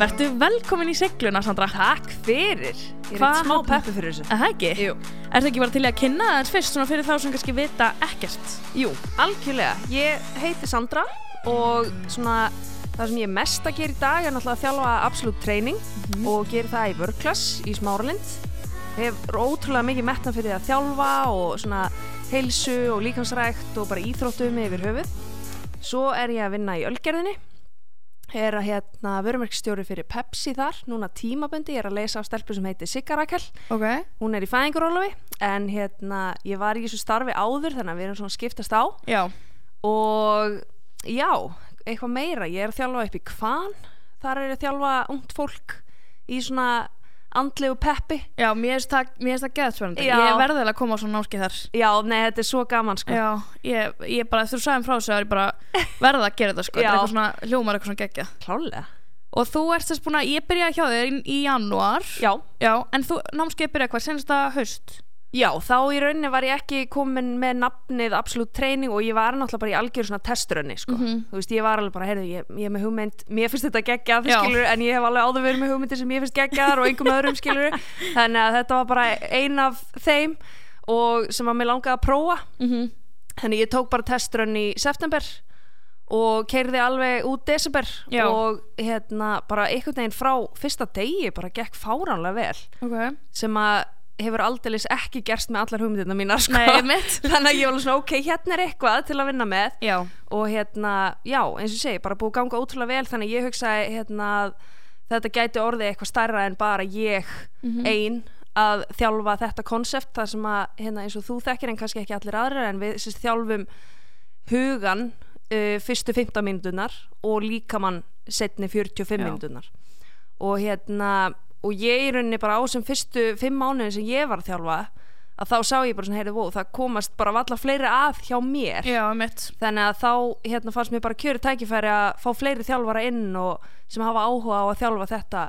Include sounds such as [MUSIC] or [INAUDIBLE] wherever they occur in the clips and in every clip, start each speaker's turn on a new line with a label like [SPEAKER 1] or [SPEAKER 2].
[SPEAKER 1] Vertu velkomin í segluna, Sandra.
[SPEAKER 2] Takk fyrir. Ég er
[SPEAKER 1] Hvað
[SPEAKER 2] eitt smá
[SPEAKER 1] hafði-
[SPEAKER 2] peppu fyrir þessu.
[SPEAKER 1] Er það ekki?
[SPEAKER 2] Jú.
[SPEAKER 1] Er það ekki bara til í að kynna það eins fyrst, svona fyrir þá sem kannski vita ekkert?
[SPEAKER 2] Jú, algjörlega. Ég heiti Sandra og svona það sem ég er mest að gera í dag er náttúrulega að þjálfa absolutt treyning og gera það í vörklass í Smáralind. Ég hef ótrúlega mikið metna fyrir að þjálfa og svona heilsu og líkansrækt og bara íþróttum yfir höfuð. Svo er ég að vinna í Ölgerðinni. Ég er að hérna vörumerkstjóri fyrir Pepsi þar, núna tímabundi, ég er að leysa á stelpu sem heitir Sigga Rakel
[SPEAKER 1] Ok.
[SPEAKER 2] hún er í fæðingarólofi en hérna, ég var í þessu starfi áður þannig að við erum svona að skiptast á
[SPEAKER 1] Já.
[SPEAKER 2] og já, eitthvað meira ég er að þjálfa upp í kvan þar er ég að þjálfa ungt fólk í svona andlegu peppi
[SPEAKER 1] Já, mér finnst það, mér finnst það geðsverðandi.
[SPEAKER 2] Já.
[SPEAKER 1] Ég verði eiginlega að koma á svona námskeið þar.
[SPEAKER 2] já, nei, þetta er svo gaman sko
[SPEAKER 1] Já, ég, ég bara, þegar þú sagðum frá þessu, þá er ég bara verða að gera þetta, [LAUGHS] sko. Þetta
[SPEAKER 2] Já.
[SPEAKER 1] er eitthvað svona, hljómar eitthvað svona geggja.
[SPEAKER 2] klálega
[SPEAKER 1] Og þú ert þess búin að, ég byrjaði hjá þér í, í janúar.
[SPEAKER 2] já,
[SPEAKER 1] en þú, námskeið byrjaði hvað, senasta haust?
[SPEAKER 2] já, þá í rauninni var ég ekki komin með nafnið absolutt treyning og ég var náttúrulega bara í algjör svona testrunni sko.
[SPEAKER 1] Mhm.
[SPEAKER 2] þú veist, ég var alveg bara, heyrðu, ég, ég er með hugmynd mér finnst þetta geggjað,
[SPEAKER 1] Já.
[SPEAKER 2] skilur en ég hef alveg áður verið með hugmyndir sem mér finnst geggjaðar og einhverjum öðrum skilur
[SPEAKER 1] [LAUGHS]
[SPEAKER 2] þannig að þetta var bara ein af þeim og sem að mér langaði að prófa
[SPEAKER 1] Mhm.
[SPEAKER 2] þannig ég tók bara testrun í september og keirði alveg út desember
[SPEAKER 1] Já.
[SPEAKER 2] og hérna bara einhvern veginn frá fyrsta degi bara gekk fáránlega vel
[SPEAKER 1] Ok.
[SPEAKER 2] sem að hefur aldeilis ekki gerst með allar hugmyndirna mínar sko.
[SPEAKER 1] Nei, mitt.
[SPEAKER 2] þannig að ég var alveg svona ok, hérna er eitthvað til að vinna með
[SPEAKER 1] Já.
[SPEAKER 2] og hérna, já, eins og ég segi, bara búið að ganga ótrúlega vel þannig að ég hugsaði hérna að þetta gæti orðið eitthvað stærra en bara ég
[SPEAKER 1] Mhm.
[SPEAKER 2] ein að þjálfa þetta konsept þar sem að hérna, eins og þú þekkir en kannski ekki allir aðrir en við sérst, þjálfum hugan uh, fyrstu 15 mínútunar og líkamann setni 45
[SPEAKER 1] Já.
[SPEAKER 2] mínútunar og hérna og ég í rauninni bara á sem fyrstu 5 mánuðin sem ég var að þjálfa að þá sá ég bara svona, heyrðu, vó, það komast bara valla fleiri að hjá mér
[SPEAKER 1] Já, mitt.
[SPEAKER 2] þannig að þá hérna, fannst mér bara kjöri tækifæri að fá fleiri þjálfara inn og sem hafa áhuga á að þjálfa þetta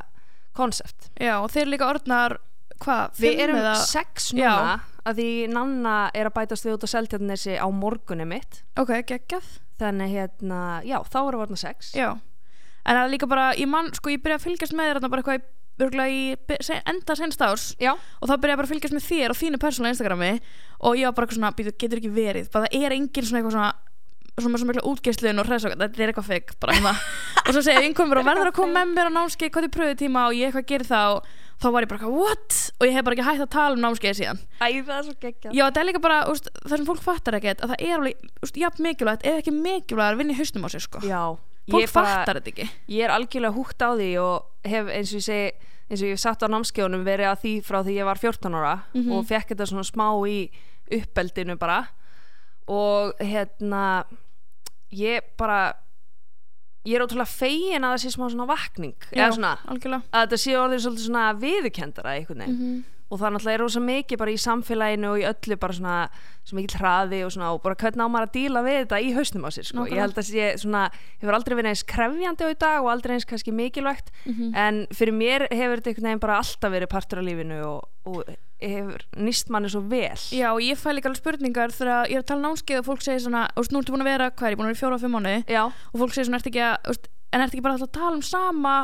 [SPEAKER 2] konsept.
[SPEAKER 1] Já, og þeir eru líka orðnar, hvað,
[SPEAKER 2] Við
[SPEAKER 1] fimm
[SPEAKER 2] erum
[SPEAKER 1] eða-
[SPEAKER 2] sex
[SPEAKER 1] Já.
[SPEAKER 2] núna að því Nanna er að bætast við út á seltjarnesi á morgunni mitt
[SPEAKER 1] Ok, geggjað.
[SPEAKER 2] þannig hérna, já, þá erum við orðna sex
[SPEAKER 1] Já. En það er líka bara, ég mann, sko, ég byrja að fylgjast með þér þarna bara eitthvað í, örgulega í be- se- enda senst árs
[SPEAKER 2] Já,
[SPEAKER 1] og þá byrja ég bara að fylgjast með þér og þínu persónulega Instagrami og ég var bara eitthvað svona, býtu, getur ekki verið, bara það er engin svona eitthvað svona svona svona mikla útgeisluðin og hræðsók þetta er eitthvað fake bara hérna og svo segir einhverjum og verður að koma með mér á námskeið hvað þið pröðu tíma og ég eitthvað gerir það og þá var ég bara eitthvað what og ég hef bara ekki hægt að tala um námskeið síðan
[SPEAKER 2] Æ, það er svo geggjað
[SPEAKER 1] Já, þetta er líka bara, úst, það sem fólk fattar ekkert að það er alveg, úst, jafn mikilvægt ef ekki mikilvægt að vinna í hausnum á sér, sko
[SPEAKER 2] Já,
[SPEAKER 1] Fólk
[SPEAKER 2] ég, bara,
[SPEAKER 1] fattar þetta ekki
[SPEAKER 2] ég er algjörlega húgt á því og hef eins og ég segi eins og ég hef satt á námskjónum verið að því frá því ég var 14 ára og fekk þetta svona smá í uppeldinu bara og hérna ég bara ég er ótrúlega fegin að það sé smá svona vakning eða svona
[SPEAKER 1] algjörlega
[SPEAKER 2] að þetta sé orðin svolítið svona viðurkendara einhvern veginn og það náttúrulega er rosa mikið bara í samfélaginu og í öllu bara svona svo mikið hraði og svona og bara hvernig á maður að díla við þetta í hausnum á sér sko.
[SPEAKER 1] Nákvæmlega.
[SPEAKER 2] ég held að sé svona, hefur aldrei verið eins krefjandi á í dag og aldrei eins kannski mikilvægt en fyrir mér hefur þetta einhvern veginn bara alltaf verið partur af lífinu og, og hefur nýst manni svo vel
[SPEAKER 1] Já, og ég fæ líka alveg spurningar þegar ég er að tala um námskeið og fólk segir svona, úst, nú ertu búin að vera, hvað er ég búin að vera í fjóra og fimm mánuði
[SPEAKER 2] Já.
[SPEAKER 1] og fólk segir svona, ertu ekki að, úst, en ertu ekki bara alltaf að tala um sama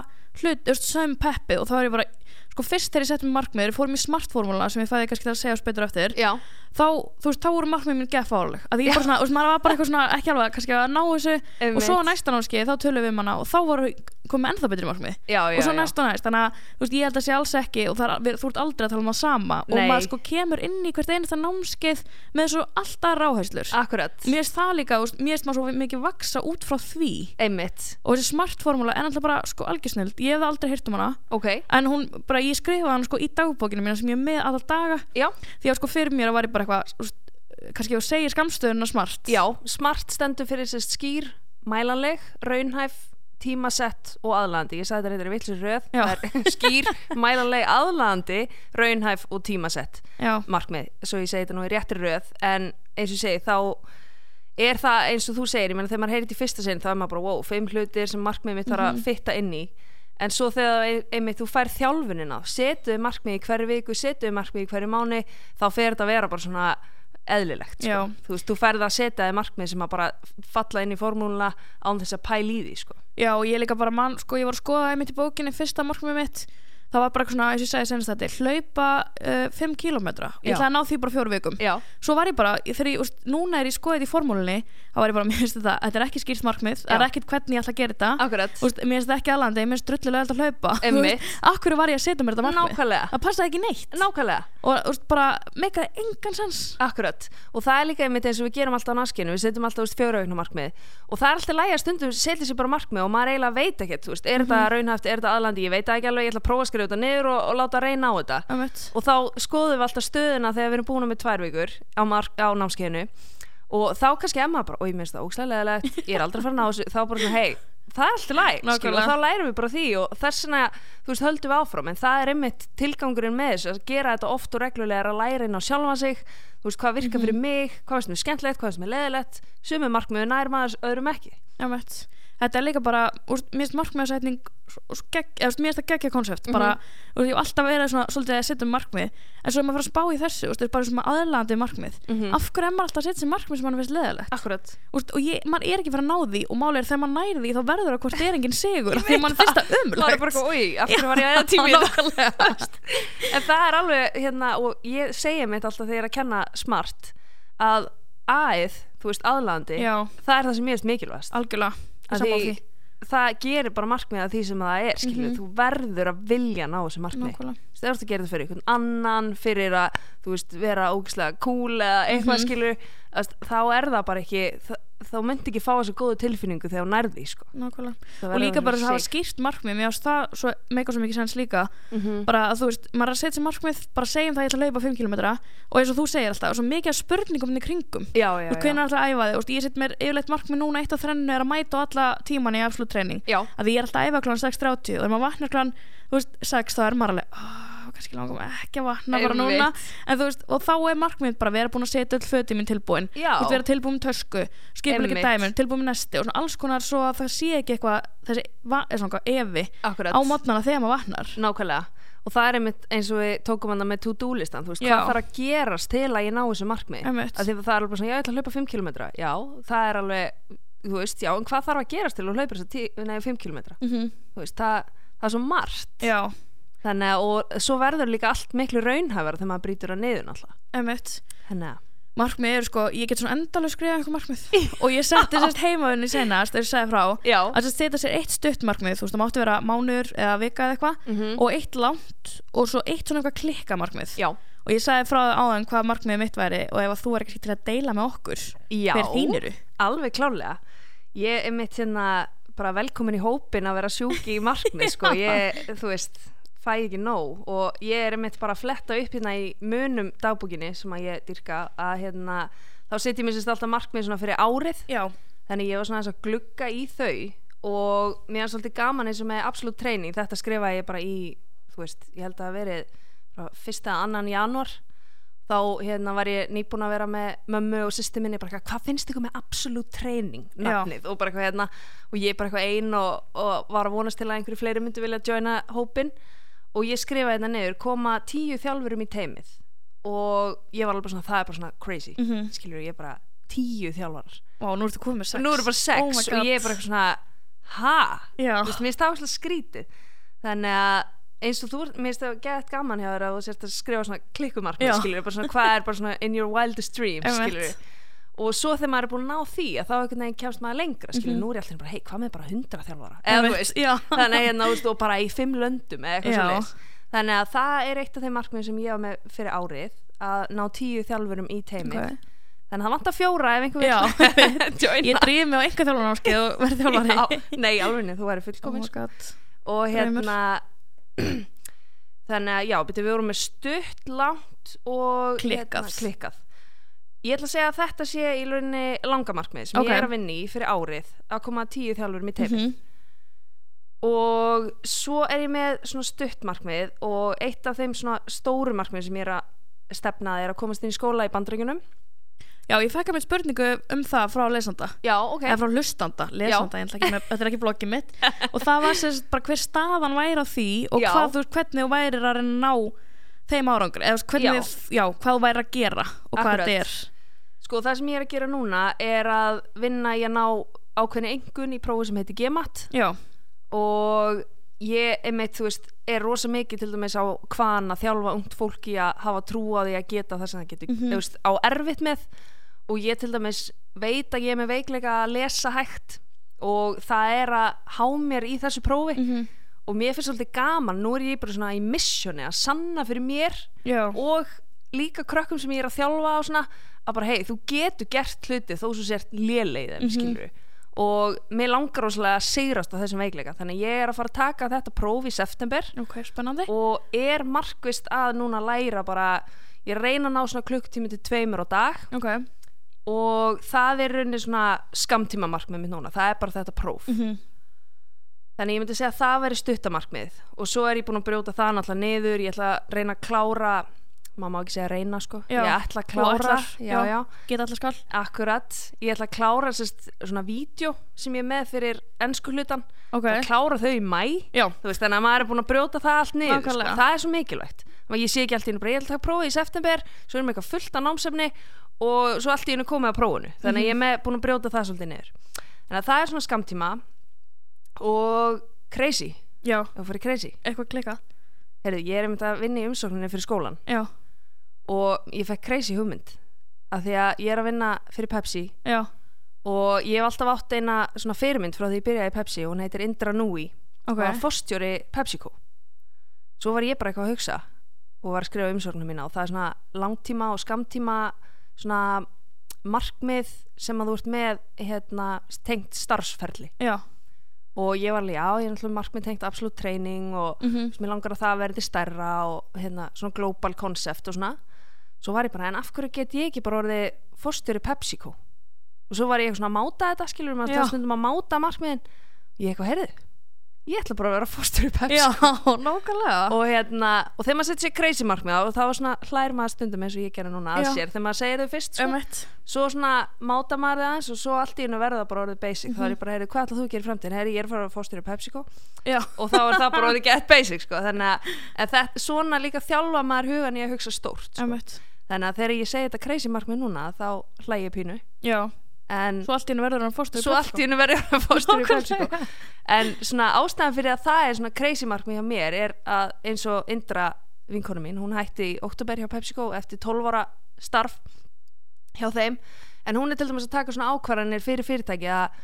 [SPEAKER 1] hlut, úst, söm peppi og þá er ég bara, sko fyrst þegar ég sett mér markmiður, fórum í smartformúla sem ég fæði kannski til að segja oss betur eftir,
[SPEAKER 2] Já.
[SPEAKER 1] þá, þú veist, þá voru markmiður mín geffáleg, að ég bara svona, úst, maður var bara eitthvað svona, ekki alveg kannski að ná þessu og svo á
[SPEAKER 2] Einmitt.
[SPEAKER 1] næsta námskeið, þá tölum við um hana og þá voru komið ennþá betri markmið
[SPEAKER 2] Já, já,
[SPEAKER 1] og svo
[SPEAKER 2] já.
[SPEAKER 1] næst og næst þannig að þú veist, ég held að sé alls ekki og það er, við, þú ert aldrei að tala um það sama og
[SPEAKER 2] Nei.
[SPEAKER 1] maður sko kemur inn í hvert einasta námskeið með svo alltaf ráhæslur
[SPEAKER 2] Akkurat,
[SPEAKER 1] mér finnst það líka, þú veist, mér finnst maður svo mikið vaksa út frá því
[SPEAKER 2] einmitt
[SPEAKER 1] og þessi smartformúla er alltaf bara sko algjörsnild ég hef aldrei hýrt um hana
[SPEAKER 2] Ok,
[SPEAKER 1] en hún, bara ég skrifaði hann sko í dagbókinu mína sem ég er með alltaf daga
[SPEAKER 2] já,
[SPEAKER 1] því að sko fyrir mér var ég bara eitthvað þú veist, kannski ef þú segir skamstöðuna smart
[SPEAKER 2] já smart stendur fyrir sérst skýr mælanleg, raunhæf tímasett og aðlandi ég sagði þetta reyndar í vitlu röð
[SPEAKER 1] Já.
[SPEAKER 2] Það er [LAUGHS] skýr, mælanleg, aðlandi raunhæf og tímasett
[SPEAKER 1] Já.
[SPEAKER 2] markmið, svo ég segi þetta nú í réttri röð en eins og ég segi þá er það eins og þú segir, ég meina þegar maður heyrði í fyrsta sinn þá er maður bara, wow, fimm hlutir sem markmið mitt þarf að fitta inn í en svo þegar ein- einmitt þú fær þjálfunina setuðu markmið í hverju viku, setuðu markmið í hverju mánu, þá fer þetta að vera bara svona eðlilegt
[SPEAKER 1] Já.
[SPEAKER 2] sko. þú veist, þú ferð að setja þig markmið sem að bara falla inn í formúluna án þess að pæla í því sko.
[SPEAKER 1] Já, og ég líka bara mann, sko, ég var að skoða einmitt í bókinni fyrsta markmið mitt það var bara eitthvað svona, eins og ég segi senast þetta hlaupa uh, 5 km, ég
[SPEAKER 2] Já.
[SPEAKER 1] ætlaði að ná því bara fjóru vikum
[SPEAKER 2] Já.
[SPEAKER 1] svo var ég bara, ég- þegar ég, úst, núna er ég skoðið í formúlunni þá var ég bara, [LAUGHS] mér finnst þetta, þetta er ekki skýrt markmið það er
[SPEAKER 2] Já.
[SPEAKER 1] ekkert hvernig ég ætla að gera þetta
[SPEAKER 2] Akkurat
[SPEAKER 1] úst, mér finnst þetta ekki aðlandi, mér finnst drullilega að hlaupa [LAUGHS]
[SPEAKER 2] Einmitt.
[SPEAKER 1] akkur var ég að setja mér þetta markmið
[SPEAKER 2] Nákvæmlega,
[SPEAKER 1] það passaði ekki neitt
[SPEAKER 2] nákvæmlega
[SPEAKER 1] og úst, bara meikaði engan sens
[SPEAKER 2] Akkurat, og það er líka einmitt eins og við gerum alltaf á naskinu, við setjum alltaf þú veist, fjóraugna markmið og það er alltaf lægja stundum, setjum sér bara markmið og maður eiginlega veit ekkert, þú veist, er þetta raunhaft, er þetta aðlandi, ég veit það ekki alveg, ég ætla að prófa að skrifa þetta niður og, og láta reyna á þetta
[SPEAKER 1] Einmitt.
[SPEAKER 2] og þá skoðum við alltaf stöðuna þegar við erum búin með tvær vikur á, mark, á námskeinu og þá kannski emma bara, oi, mér finnst það ógslæðilegt ég er aldrei að fara að ná þessu, þá bara svona, hei það er alltaf læg, skil, og
[SPEAKER 1] Nákvæmlega.
[SPEAKER 2] þá lærum við bara því og þess vegna, þú veist, höldum við áfram en það er einmitt tilgangurinn með þess að gera þetta oft og reglulega er að læra inn á sjálfa sig þú veist, hvað virkar fyrir mig, hvað veist mér skemmtilegt hvað veist mér leðilegt, sumum markmiðu nær maður öðrum ekki,
[SPEAKER 1] Einmitt. Þetta er líka bara, úr, mér finnst markmiðasetning svo- svo gegg- eða, þú veist, mér finnst það geggja konsept
[SPEAKER 2] Mhm.
[SPEAKER 1] bara, úr, ég hef alltaf verið svona, svolítið að setja um markmið en svo er maður að fara að spá í þessu úr, það er bara svona aðlaðandi markmið
[SPEAKER 2] Mhm.
[SPEAKER 1] af hverju er maður alltaf að setja sér markmið sem mann finnst leðilegt
[SPEAKER 2] akkurat
[SPEAKER 1] úr, og ég, maður er ekki að fara að ná því og máli er þegar maður næri því þá verður
[SPEAKER 2] [LAUGHS]
[SPEAKER 1] það hvort það er enginn sigur af því mann finnst það
[SPEAKER 2] maður er bara
[SPEAKER 1] umlegt
[SPEAKER 2] eitthvað, oi, af hverju var ég að tími
[SPEAKER 1] Nákvæmlega.
[SPEAKER 2] en það er alveg hérna og ég segja mitt alltaf þegar ég er að kenna smart að aðið, þú veist aðlandi
[SPEAKER 1] Já,
[SPEAKER 2] það er það sem ég veist mikilvægast
[SPEAKER 1] algjörlega Ég
[SPEAKER 2] Af
[SPEAKER 1] sammála því. Mhm.
[SPEAKER 2] það gerir bara markmið að því sem það er skilur, þú verður að vilja ná þessu markmið
[SPEAKER 1] Nákvæmlega.
[SPEAKER 2] Þú veist, þú gerir það fyrir einhvern annan fyrir að, þú veist, vera ógislega cool eða eitthvað
[SPEAKER 1] Mhm.
[SPEAKER 2] mm -hmm. skilur þú veist, þá er það bara ekki þá, þá myndi ekki fá þessu góðu tilfinningu þegar hún nærði sko.
[SPEAKER 1] Nákvæmlega. og
[SPEAKER 2] Það verður
[SPEAKER 1] líka
[SPEAKER 2] að
[SPEAKER 1] bara
[SPEAKER 2] vera
[SPEAKER 1] að hafa
[SPEAKER 2] sig.
[SPEAKER 1] skýrt markmið mér ást það svo, meika svo mikið sens líka
[SPEAKER 2] Mhm.
[SPEAKER 1] bara að þú veist, maður er að setja sér markmið bara segjum það ég ætla að laupa 5 km og eins og þú segir alltaf, og svo mikið af spurningum þarna í kringum
[SPEAKER 2] já, já,
[SPEAKER 1] og hvernig er alltaf að æfa þig, þú veist, ég set mér yfirleitt markmið núna eitt af þrennu er að mæta á alla tíman í absolutt treyning,
[SPEAKER 2] já.
[SPEAKER 1] að því ég er alltaf að æfa kl. 6.30 og ef maður vaknar kl. þú veist, 6 þá er maður alveg, "Ah, kannski langar maður ekki að vakna bara
[SPEAKER 2] Einmitt.
[SPEAKER 1] núna, en þú veist, og þá er markmið bara að vera búin að setja öll fötin mín tilbúin
[SPEAKER 2] Já.
[SPEAKER 1] Þú veist, vera tilbúin með tösku, skipulegja
[SPEAKER 2] Einmitt.
[SPEAKER 1] dæmin, tilbúin með nesti og svona alls konar svo að það sé ekki eitthvað þessi, va- eða svona eitthvað evi
[SPEAKER 2] Akkurat.
[SPEAKER 1] á mótnana þegar maður vatnar
[SPEAKER 2] Nákvæmlega og það er einmitt eins og við tókum hann með to-do listan, þú veist,
[SPEAKER 1] Já.
[SPEAKER 2] hvað þarf að gerast til að ég ná þessu markmi
[SPEAKER 1] Einmitt.
[SPEAKER 2] að því að það er alveg bara svona, já, ég ætla að hlaupa 5 km já, það er alveg, þú veist, já en hvað þarf að gerast til að hlaupa þessu tí- nei, 5 km
[SPEAKER 1] mm -hmm.
[SPEAKER 2] þú veist, það, það er svo margt
[SPEAKER 1] Já,
[SPEAKER 2] þannig að, og svo verður líka allt miklu raunhæfara þegar maður brýtur að niður náttúrulega
[SPEAKER 1] einmitt
[SPEAKER 2] þannig að,
[SPEAKER 1] Markmið eru sko, ég get svona endalega skrifað einhver markmið og ég setti sérst heimaðunni senast hérna þegar ég sagði frá
[SPEAKER 2] já,
[SPEAKER 1] að sérst setja sér eitt stutt markmið, þú veist, það máttu vera mánuður eða vika eða eitthvað
[SPEAKER 2] Mhm.
[SPEAKER 1] og eitt langt og svo eitt svona eitthvað klikka markmið
[SPEAKER 2] já,
[SPEAKER 1] og ég sagði frá áðan hvað markmiðið mitt væri og ef að þú er ekki til að deila með okkur
[SPEAKER 2] já
[SPEAKER 1] hver þín eru
[SPEAKER 2] alveg klálega ég er mitt hérna bara velkomin í hópin að vera sjúki í markmið
[SPEAKER 1] [LAUGHS]
[SPEAKER 2] sko, ég, þú veist fæ ekki nóg og ég er mitt bara að fletta upp hérna í munum dagbúkinni sem að ég dyrka að hérna þá setjum ég sérst alltaf markmið svona fyrir árið
[SPEAKER 1] Já,
[SPEAKER 2] þannig ég var svona aðeins að glugga í þau og mér er svolítið gaman eins og með absolutt treyning, þetta skrifaði ég bara í þú veist, ég held að hafi verið frá fyrsta annan janúar þá hérna var ég nýbúin að vera með mömmu og sýsti minni bara eitthvað, hvað finnst ykkur með absolutt treyning nafnið og bara eitthvað hérna og ég bara eitthvað ein og, og var að vonast til að einhverju fleiri myndi vilja joina hópin og ég skrifaði hérna niður koma tíu þjálfurum í teimið og ég var alveg bara svona, það er bara svona crazy mm
[SPEAKER 1] Mhm.
[SPEAKER 2] skilur ég bara tíu þjálfarar
[SPEAKER 1] Vá, nú ertu komið með sex
[SPEAKER 2] nú eru bara
[SPEAKER 1] Oh my
[SPEAKER 2] sex
[SPEAKER 1] God.
[SPEAKER 2] og ég er bara eitthvað svona ha,
[SPEAKER 1] Já.
[SPEAKER 2] þú veist, mér finnst það áherslu skrítið þannig að eins og þú, ert- mér finnst það gett gaman hjá þér að þú sérst að skrifa svona klikkumarkmið
[SPEAKER 1] Já.
[SPEAKER 2] skilur, bara svona hvað er bara svona in your wildest dreams
[SPEAKER 1] Einmitt.
[SPEAKER 2] skilur og svo þegar maður er búin að ná því að þá einhvern veginn kemst maður lengra skilur, nú er ég alltaf bara, hei, hvað með bara 100 þjálfara eða þú
[SPEAKER 1] Mhm. Einmitt,
[SPEAKER 2] veist,
[SPEAKER 1] já.
[SPEAKER 2] þannig að ég náðist og bara í fimm löndum eða eitthvað
[SPEAKER 1] Já.
[SPEAKER 2] svoleiðis. þannig að það er eitt af þeim markmið sem ég var með fyrir árið að ná tíu þjálfurum í teimið
[SPEAKER 1] Ok.
[SPEAKER 2] þannig að það vantar fjóra ef einhver
[SPEAKER 1] Já. [LAUGHS]
[SPEAKER 2] vill joina.
[SPEAKER 1] Ég drýði mig á einhver þjálfarnarskið og verði þjálfari [LAUGHS]
[SPEAKER 2] Já, nei, alveg, þú væri
[SPEAKER 1] Oh
[SPEAKER 2] fullkomin
[SPEAKER 1] my
[SPEAKER 2] sko.
[SPEAKER 1] god
[SPEAKER 2] og
[SPEAKER 1] draumur.
[SPEAKER 2] hérna [CLEARS THROAT] þannig að já, byrju, við vorum með stutt, langt og
[SPEAKER 1] Klikkað.
[SPEAKER 2] hérna, klikkað. ég ætla að segja að þetta sé í launinni langamarkmið sem
[SPEAKER 1] Ok. Mhm.
[SPEAKER 2] ég er að vinna í fyrir árið að koma að tíu þjálfurum í teimi og svo er ég með svona stutt markmið og eitt af þeim svona stóru markmið sem ég er að stefna að er að komast inn í skóla í bandryggjunum
[SPEAKER 1] Já, ég fekk að mér spurningu um það frá lesanda
[SPEAKER 2] já, ok,
[SPEAKER 1] eða frá hlustanda, lesanda, ég ætla ekki með, þetta er ekki bloggið
[SPEAKER 2] [LAUGHS]
[SPEAKER 1] mitt og það var sérst bara hver staðan væri á því og
[SPEAKER 2] Já.
[SPEAKER 1] hvað, þú, veist, hvernig þú værir að reyna að ná þeim árangur eða þú veist, hvernig,
[SPEAKER 2] Já.
[SPEAKER 1] Við, já, hvað þú væri að gera og hvað
[SPEAKER 2] Akkurat.
[SPEAKER 1] þetta er
[SPEAKER 2] Sko það sem ég er að gera núna er að vinna í að ná ákveðni engun í prófi sem heitir GMAT
[SPEAKER 1] já,
[SPEAKER 2] og ég einmitt, þú veist, er rosa mikið til dæmis á hvaðan að þjálfa ungt fólki að hafa trú á því að geta það sem það getur
[SPEAKER 1] Mhm.
[SPEAKER 2] þú veist, á erfitt með og ég til dæmis veit að ég er með veikleika að lesa hægt og það er að há mér í þessu prófi
[SPEAKER 1] Mhm.
[SPEAKER 2] og mér finnst svolítið gaman, nú er ég bara svona í missjóni að sanna fyrir mér
[SPEAKER 1] já,
[SPEAKER 2] og líka krökkum sem ég er að þjálfa á svona, að bara hei, þú getur gert hluti þó svo sért lélegið þeim, mm
[SPEAKER 1] Mhm.
[SPEAKER 2] og mér langar óslega að sigrast á þessum veikleika þannig að ég er að fara að taka þetta próf í september
[SPEAKER 1] ok, spennandi
[SPEAKER 2] og er markvist að núna læra bara ég reyna að ná svona klukktími til tveimur á dag
[SPEAKER 1] ok,
[SPEAKER 2] og það er rauninni svona skamtíma markmið mitt núna, það er bara þetta próf
[SPEAKER 1] Mhm.
[SPEAKER 2] Þannig ég myndi segja að það væri stuttamarkmið og svo er ég búin að brjóta það náttúrulega niður, ég ætla að reyna að klára, maður má ekki segja reyna sko,
[SPEAKER 1] Já.
[SPEAKER 2] ég ætla að
[SPEAKER 1] Þú
[SPEAKER 2] klára,
[SPEAKER 1] ætlar,
[SPEAKER 2] já,
[SPEAKER 1] já.
[SPEAKER 2] já,
[SPEAKER 1] geta allar skall
[SPEAKER 2] akkurat, ég ætla að klára sérst, svona vídeo sem ég er með fyrir ennsku hlutan,
[SPEAKER 1] ok,
[SPEAKER 2] að klára þau í mæ,
[SPEAKER 1] já,
[SPEAKER 2] þú veist, þannig að maður er búin að brjóta það allt niður, sko.
[SPEAKER 1] Nákvæmlega.
[SPEAKER 2] það er svo mikilvægt. Þannig að Ég sé ekki allt í einu bara, ég ætla að taka prófið í september, svo erum við eitthvað fullt af námsefni og svo allt í einu komið að prófunu, þannig að ég er með, búin að brjóta það svolítið niður. Þannig að það er svona skamtíma og crazy,
[SPEAKER 1] já,
[SPEAKER 2] og fyrir crazy
[SPEAKER 1] eitthvað klika
[SPEAKER 2] Heyrðu, ég er einmitt að vinna í umsókninni fyrir skólan
[SPEAKER 1] já,
[SPEAKER 2] og ég fekk crazy hugmynd af því að ég er að vinna fyrir Pepsi
[SPEAKER 1] já,
[SPEAKER 2] og ég hef alltaf átt eina svona fyrirmynd frá því ég byrjaði í Pepsi og hún heitir Indra Nui
[SPEAKER 1] ok
[SPEAKER 2] og var fórstjóri PepsiCo svo var ég bara eitthvað að hugsa og var að skrifa umsóknum mína og það er svona langtíma og skamtíma svona markmið sem að þú ert með hérna, tengt starfsferli
[SPEAKER 1] já,
[SPEAKER 2] og ég var alveg, já, ég er náttúrulega markmið tengt absolutt treyning og
[SPEAKER 1] mhm,
[SPEAKER 2] Þú veist, mér langar að það verði stærra og hérna, svona global concept og svona svo var ég bara, en af hverju get ég ekki bara orðið fórstjóri PepsiCo og svo var ég eitthvað svona að máta þetta skilur maður
[SPEAKER 1] Já.
[SPEAKER 2] það stundum að máta markmiðin ég eitthvað, heyrðu, ég ætla bara að vera fórstjóri
[SPEAKER 1] já, [LAUGHS]
[SPEAKER 2] PepsiCo
[SPEAKER 1] nákvæmlega
[SPEAKER 2] og hérna, og þegar maður setja sér crazy markmið á þá var svona hlær maður stundum eins og ég gerði núna að
[SPEAKER 1] Já.
[SPEAKER 2] sér, þegar maður segir þau fyrst sko,
[SPEAKER 1] ömmett,
[SPEAKER 2] svo svona máta maður það aðeins og svo allt í einu verða bara orðið basic þá
[SPEAKER 1] Mhm.
[SPEAKER 2] er ég bara, heyrðu, hvað ætla þú að gera í framtíðin, heyrðu, ég er að fara að fórstjóri PepsiCo
[SPEAKER 1] já,
[SPEAKER 2] og þá er það bara orðið gett basic sko. þannig að en það, svona líka þjálfa maður hugan í að hugsa stórt sko.
[SPEAKER 1] ömmett
[SPEAKER 2] þannig að þegar ég segi þetta crazy markmið núna þá hlæg ég pínu
[SPEAKER 1] já,
[SPEAKER 2] en
[SPEAKER 1] svo allt í hennu verður hann fórstu
[SPEAKER 2] svo allt í hennu verður að fórstur í PepsiCo
[SPEAKER 1] sko. Nákvæmlega.
[SPEAKER 2] en svona ástæðan fyrir að það er svona crazy markmið hjá mér er að eins og Indra vinkonu mín, hún hætti í oktober hjá PepsiCo eftir 12 ára starf hjá þeim en hún er til dæmis að taka svona ákvarðanir fyrir fyrirtæki að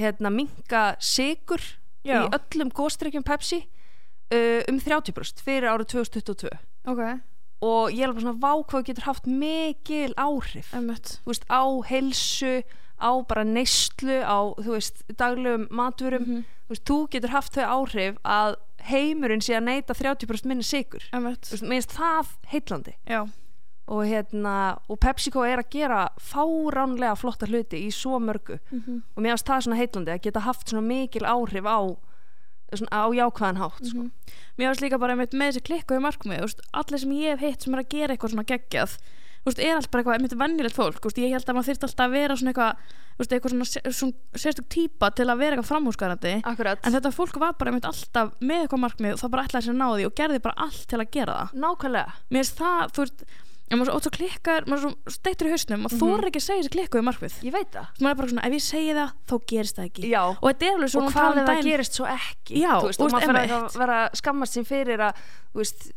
[SPEAKER 2] hérna, minka sigur
[SPEAKER 1] já,
[SPEAKER 2] í öllum góstrykkjum Pepsi uh, um 30% fyrir árið 2022
[SPEAKER 1] ok,
[SPEAKER 2] og ég er alveg svona vá hvað þú getur haft mikil áhrif
[SPEAKER 1] ömmett
[SPEAKER 2] þú veist, á heilsu á bara neyslu á þú veist, daglegum maturum
[SPEAKER 1] Mhm.
[SPEAKER 2] þú, veist, þú getur haft þau áhrif að heimurinn sé að neyta 30% minni sigur
[SPEAKER 1] ömmett,
[SPEAKER 2] þú veist, mér finnst það heitlandi
[SPEAKER 1] já,
[SPEAKER 2] og hérna, og PepsiCo er að gera fáránlega flotta hluti í svo mörgu
[SPEAKER 1] mhm,
[SPEAKER 2] og mér finnst það svona heitlandi að geta haft svona mikil áhrif á svona á jákvæðan hátt sko.
[SPEAKER 1] Mhm. Mér finnst líka bara einmitt með þessi klikku í markmið, þú veist, allir sem ég hef hitt sem er að gera eitthvað svona geggjað, þú veist, er allt bara eitthvað einmitt vennilegt fólk, þú veist, ég held að maður þyrst alltaf að vera svona eitthvað, þú veist, eitthvað svona, se- svona sérstök típa til að vera eitthvað framhúsgarandi,
[SPEAKER 2] Akkurat
[SPEAKER 1] en þetta fólk var bara einmitt alltaf með eitthvað markmið og það bara ætlaði sér að ná því og gerði bara allt til að gera það.
[SPEAKER 2] Nákvæmlega
[SPEAKER 1] Mér finnst það, þú veist, en maður svo ótt svo klikkar, maður er svo steittur í hausnum, maður mm
[SPEAKER 2] Mhm.
[SPEAKER 1] ekki að segja þessi klikku í markmið.
[SPEAKER 2] Ég veit það
[SPEAKER 1] Þú veist, Maður er bara svona, ef ég segi það, þá gerist það ekki.
[SPEAKER 2] Já
[SPEAKER 1] Og þetta er alveg
[SPEAKER 2] Og
[SPEAKER 1] svona
[SPEAKER 2] hvað ef það gerist svo ekki
[SPEAKER 1] Já,
[SPEAKER 2] um þú veist,
[SPEAKER 1] þú
[SPEAKER 2] Og
[SPEAKER 1] veist,
[SPEAKER 2] maður fyrir
[SPEAKER 1] einmitt.
[SPEAKER 2] að vera að skammast sín fyrir að Þú veist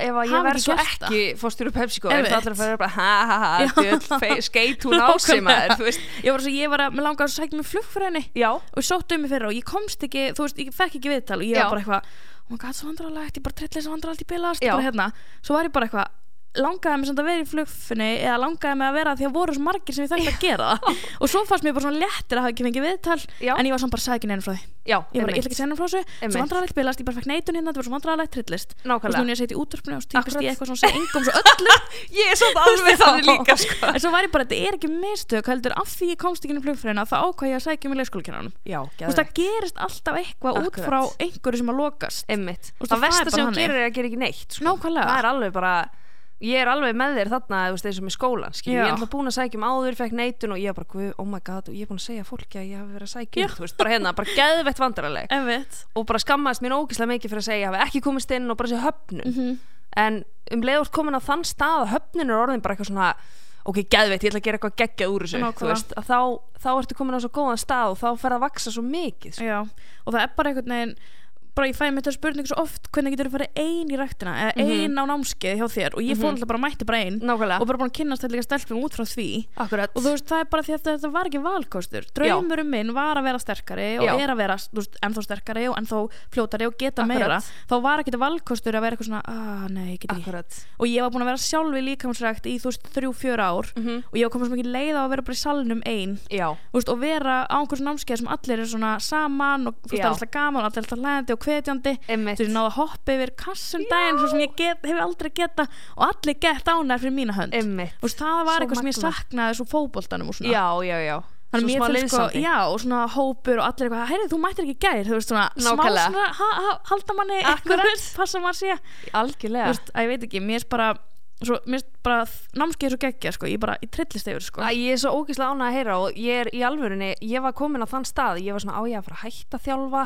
[SPEAKER 2] Ef að
[SPEAKER 1] Hafa
[SPEAKER 2] ég verð
[SPEAKER 1] ekki
[SPEAKER 2] svo
[SPEAKER 1] gert
[SPEAKER 2] ekki fórstjóru PepsiCo Er það
[SPEAKER 1] Einmitt.
[SPEAKER 2] allir að fara bara Ha ha ha djöfull, fe- Skeit hún á sig maður Þú veist
[SPEAKER 1] Ég var svo, ég var að, mér langaði að sækja mig flugfræðinni
[SPEAKER 2] Já
[SPEAKER 1] og ég sótti um mig fyrir og ég komst ekki, þú veist, ég fekk ekki viðtal og ég
[SPEAKER 2] Já.
[SPEAKER 1] var bara eitthvað, oh my god, svo vandrarlegt, ég bara trillið svo vandrarlegt, ég bilast,
[SPEAKER 2] Já.
[SPEAKER 1] bara hérna. Svo var ég bara eitthvað, langaði mig samt að vera í flugfinni eða langaði mig að vera því að voru svo margir sem ég þekkt að gera það. og svo fannst mér bara svona léttir að hafa ekki fengið viðtal,
[SPEAKER 2] Já.
[SPEAKER 1] en ég var samt bara sækin einu frá því.
[SPEAKER 2] Já
[SPEAKER 1] Ég bara, ég
[SPEAKER 2] einmitt.
[SPEAKER 1] ætla ekki að segja neinu frá þessu,
[SPEAKER 2] Einmitt.
[SPEAKER 1] svo vandrarlegt bilast, ég bara fekk neitun hérna, þetta var svo vandrarlegt trillist. Og
[SPEAKER 2] Nákvæmlega
[SPEAKER 1] stúni að setja í útvarpinu og stýpist
[SPEAKER 2] Akkurat.
[SPEAKER 1] í eitthvað svona, segja
[SPEAKER 2] [LAUGHS]
[SPEAKER 1] engum svo öllu.
[SPEAKER 2] Ég er svolítið alveg þannig líka sko.
[SPEAKER 1] En svo var ég bara, þetta er ekki mistök, heldur, af því ég komst ekki inn í flugfræðina, þá ákvað ég að sækja mig leikskólakennaranum.
[SPEAKER 2] Já,
[SPEAKER 1] Þú veist, það gerist alltaf eitthvað út
[SPEAKER 2] Akkurat.
[SPEAKER 1] frá einhverju sem að lokast.
[SPEAKER 2] Einmitt
[SPEAKER 1] veist,
[SPEAKER 2] Það
[SPEAKER 1] það er
[SPEAKER 2] versta
[SPEAKER 1] bara
[SPEAKER 2] sem hún
[SPEAKER 1] þannig.
[SPEAKER 2] gerir er að gera ekki neitt sko.
[SPEAKER 1] Nákvæmlega.
[SPEAKER 2] það er alveg bara ég er alveg með þér þarna þú veist, eins og með skólan skilur.
[SPEAKER 1] Já.
[SPEAKER 2] ég er alltaf búin að sækja um áður, fekk neitun og ég er bara, guð, oh my god, og ég er búin að segja fólki að ég hafi verið að sækja um, þú veist, bara hérna, bara
[SPEAKER 1] [LAUGHS]
[SPEAKER 2] geðvett vandaraleg
[SPEAKER 1] Einmitt.
[SPEAKER 2] og bara skammaðist mér ógislega mikið fyrir að segja, ég hafi ekki komist inn og bara sé höfnun
[SPEAKER 1] Mhm.
[SPEAKER 2] en um leið úr komin á þann stað að höfnin er orðin bara eitthvað svona ok, geðveitt, ég ætla að gera eitthvað geggjað úr þessu þú
[SPEAKER 1] Nákvæmlega.
[SPEAKER 2] veist, að þá, þá ertu komin á svo góðan stað og þá fer það að vaksa svo mikið sko.
[SPEAKER 1] Já, og það er bara einhvern veginn bara ég fæði mér þetta spurning svo oft hvernig getur þú farið ein í ræktina eða ein á námskeið hjá þér og ég fór alltaf bara mætti bara ein
[SPEAKER 2] Mhm. nákvæmlega,
[SPEAKER 1] og bara búin að kynast þetta líka stelpum út frá því
[SPEAKER 2] akkurat
[SPEAKER 1] og þú veist það er bara því að þetta var ekki valkostur draumurum minn var að vera sterkari og
[SPEAKER 2] Já.
[SPEAKER 1] er að vera þú veist, ennþá sterkari og ennþá fljótari og geta
[SPEAKER 2] Akkurat.
[SPEAKER 1] meira þá var ekki þetta valkostur að vera eitthvað svona ah nei, ég get ekki
[SPEAKER 2] akkurat,
[SPEAKER 1] og ég var búin að vera sjálfi líkamsrækt í þú veist þrjú, fjör ár
[SPEAKER 2] Mhm.
[SPEAKER 1] og ég var komin svo mikið leið á að vera bara í salnum ein
[SPEAKER 2] já
[SPEAKER 1] þú veist, og vera á einhversu námskeið sem allir eru svona saman og þú veist,
[SPEAKER 2] Já.
[SPEAKER 1] það er alltaf gaman, allir alltaf hlæðandi og hvetjandi
[SPEAKER 2] Einmitt.
[SPEAKER 1] þú veist, ég náða að hoppa yfir kassum daginn svo sem ég get, hef aldrei geta og allir gett ánæður fyrir mína hönd
[SPEAKER 2] Einmitt.
[SPEAKER 1] þú veist, það var
[SPEAKER 2] Svo
[SPEAKER 1] eitthvað sem ég
[SPEAKER 2] magnað.
[SPEAKER 1] saknaði svo fótboltanum og svona
[SPEAKER 2] já, já, já
[SPEAKER 1] Þannig
[SPEAKER 2] Svo
[SPEAKER 1] mér
[SPEAKER 2] smá
[SPEAKER 1] finnst sko,
[SPEAKER 2] liðsandi.
[SPEAKER 1] já, og svona hópur og allir eitthvað, heyrðu, þú mættir ekki í gær, þú veist, svona, smá
[SPEAKER 2] Nákvæmlega.
[SPEAKER 1] svona, ha, ha, halda manni, þú
[SPEAKER 2] Akkurat.
[SPEAKER 1] veist, passa maður sé, þú
[SPEAKER 2] algjörlega
[SPEAKER 1] veist, að ég veit ekki, mér finnst bara, svo, mér finnst bara námskeið svo geggja, sko, ég bara, ég trillist yfir, sko.
[SPEAKER 2] Æ, ég er svo ógeðslega ánægð að heyra og ég er í alvörunni, ég var komin á þann stað, ég var svona á ég að fara að hætta að þjálfa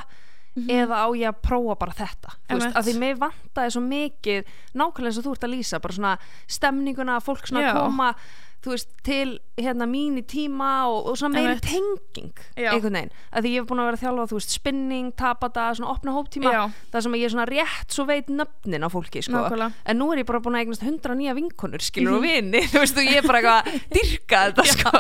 [SPEAKER 2] eða á ég að prófa bara þetta þú veist,
[SPEAKER 1] Einmitt.
[SPEAKER 2] að því mig vantaði svo mikið nákvæmlega eins og þú ert að lýsa, bara svona stemninguna, fólk svona
[SPEAKER 1] Já.
[SPEAKER 2] koma þú veist, til hérna mín í tíma og, og svona meiri
[SPEAKER 1] Einmitt.
[SPEAKER 2] tenging
[SPEAKER 1] Já.
[SPEAKER 2] einhvern veginn, að því ég hef búin að vera að þjálfa þú veist, spinning, tapata, svona opna hóptíma
[SPEAKER 1] Já.
[SPEAKER 2] þar sem ég svona rétt svo veit nöfnin á fólki, sko,
[SPEAKER 1] Nákvæmlega.
[SPEAKER 2] en nú er ég bara búin að eignast hundra nýja vinkonur, skilur
[SPEAKER 1] Mhm.
[SPEAKER 2] og vini þú veist, og ég er bara eitthvað að dyrka
[SPEAKER 1] [LAUGHS]
[SPEAKER 2] þetta, sko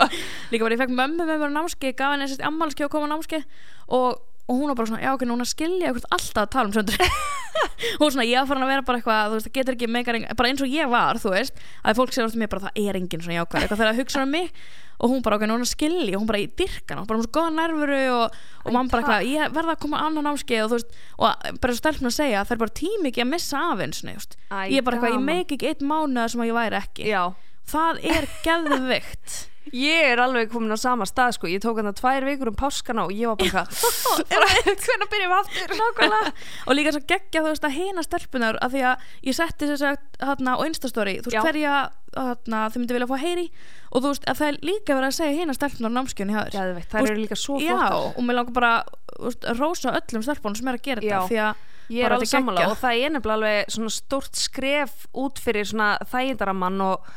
[SPEAKER 1] líka bara ég fekk mömmu með mér á námskeið gaf henni sérst ammalski og kom á námskeið og, og hún var bara svona, já ok, núna skilja ég hvort alltaf að tala um söndur [LAUGHS] hún var svona, ég var farin að vera bara eitthvað, þú veist, það getur ekki megar engin, bara eins og ég var, þú veist að fólk segir oft mér bara, það er enginn svona jákvæð eitthvað þegar það hugsa um mig og hún bara, ok, núna skilja og hún bara, ég dyrka hana, bara hún svo góða nervuru og, og mann bara eitthvað, ég verða að koma á annað námskeið og þú veist, og bara stelpna að segja það er bara tími ekki að missa af eins
[SPEAKER 2] Æ,
[SPEAKER 1] ég er bara eitthvað, ég
[SPEAKER 2] gaman.
[SPEAKER 1] meik ekki eitt mánuða sem að ég væri ekki
[SPEAKER 2] Já,
[SPEAKER 1] það er geðveikt
[SPEAKER 2] ég er alveg komin á sama stað sko, ég tók hann það tvær vikur um páskana og ég var bara
[SPEAKER 1] [LAUGHS]
[SPEAKER 2] eitthvað hvernig byrjum við aftur?
[SPEAKER 1] Nákvæmlega Og líka svo geggja þú veist að hina stelpunar að því að ég setti þess að hérna á Instastory þú
[SPEAKER 2] Já.
[SPEAKER 1] veist hverja hérna, þau myndi vilja fá að heyri og þú veist að það er líka verið að segja hina stelpunar á námskjunni hjá þér
[SPEAKER 2] Geðveikt,
[SPEAKER 1] Þú
[SPEAKER 2] þær
[SPEAKER 1] veist,
[SPEAKER 2] eru líka svo
[SPEAKER 1] Já
[SPEAKER 2] flottar
[SPEAKER 1] og mér langar bara þú veist, að rosa öllum stelpunum sem er að gera
[SPEAKER 2] Já.
[SPEAKER 1] þetta því að
[SPEAKER 2] Ég er
[SPEAKER 1] bara
[SPEAKER 2] alveg
[SPEAKER 1] þetta
[SPEAKER 2] sammála
[SPEAKER 1] geggjað.
[SPEAKER 2] og það er nefnilega alveg svona stórt skref út fyrir svona þægindaramann og,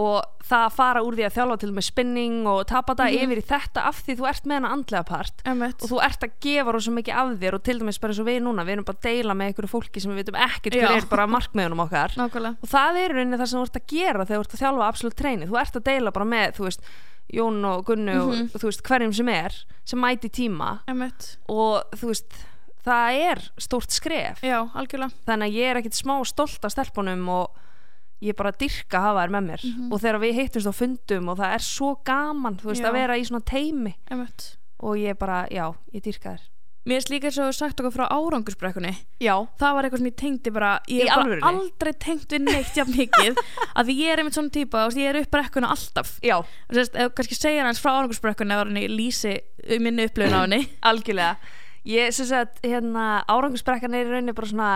[SPEAKER 2] og það að fara úr því að þjálfa til með spinning og tapa það yfir í þetta af því þú ert með hana andlega part
[SPEAKER 1] Mhm. Einmitt.
[SPEAKER 2] og þú ert að gefa rosa mikið af þér og til dæmis bara eins og við núna, við erum bara að deila með einhverju fólki sem við veitum ekkert hver
[SPEAKER 1] Já.
[SPEAKER 2] er bara markmiðunum okkar
[SPEAKER 1] Nákvæmlega
[SPEAKER 2] og það er í rauninni það sem þú ert að gera þegar þú ert að þjálfa absolutt treyni, þú ert að deila bara með þú veist, Jón og Gunnu
[SPEAKER 1] Mhm.
[SPEAKER 2] og þú veist, hverjum sem er, sem mæti tíma
[SPEAKER 1] Emmett
[SPEAKER 2] og þú veist það er stórt skref
[SPEAKER 1] Já, algjörlega
[SPEAKER 2] þannig að ég er ekkit smá stolt af stelpunum og ég er bara að dyrka að hafa þær með mér og þegar við hittumst á fundum og það er svo gaman, þú veist,
[SPEAKER 1] Mhm. Já.
[SPEAKER 2] að vera í svona teimi
[SPEAKER 1] Emmett
[SPEAKER 2] og ég er bara, já, ég dyrka þær
[SPEAKER 1] Mér er líka eins og þú hefur sagt okkur frá árangursbrekkunni
[SPEAKER 2] Já,
[SPEAKER 1] það var eitthvað sem ég tengdi bara ég
[SPEAKER 2] Í
[SPEAKER 1] hef bara
[SPEAKER 2] alvörunni?
[SPEAKER 1] aldrei tengt við neitt jafn
[SPEAKER 2] [LAUGHS]
[SPEAKER 1] mikið að því ég er einmitt svona típa og ég er upp brekkuna alltaf
[SPEAKER 2] já,
[SPEAKER 1] Sest, ef, kannski segja hans frá árangursbrekkunni eða henni lýsi um minni upplöfun á henni
[SPEAKER 2] algjörlega ég sem sagt, hérna, árangursbrekkan er í rauninni bara svona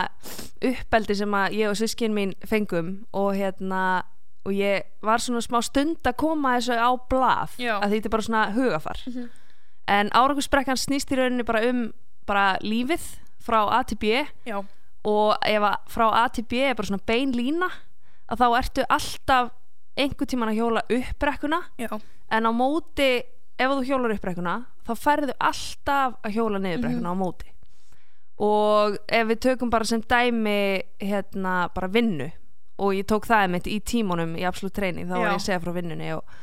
[SPEAKER 2] uppeldi sem að ég og sískinn mín fengum og hérna, og ég var svona smá stund að koma þessu á blað
[SPEAKER 1] Já.
[SPEAKER 2] að því þetta er bara svona hugafar en árangursbrekkan snýst í rauninni bara um bara lífið frá A til B
[SPEAKER 1] já,
[SPEAKER 2] og ef að frá A til B er bara svona bein lína að þá ertu alltaf einhvern tíman að hjóla upp brekkuna
[SPEAKER 1] já,
[SPEAKER 2] en á móti ef þú hjólar upp brekkuna þá færðu alltaf að hjóla niður brekkuna á móti og ef við tökum bara sem dæmi hérna bara vinnu og ég tók það einmitt í tímunum í absolutt treyning þá var
[SPEAKER 1] Já.
[SPEAKER 2] ég að segja frá vinnunni og,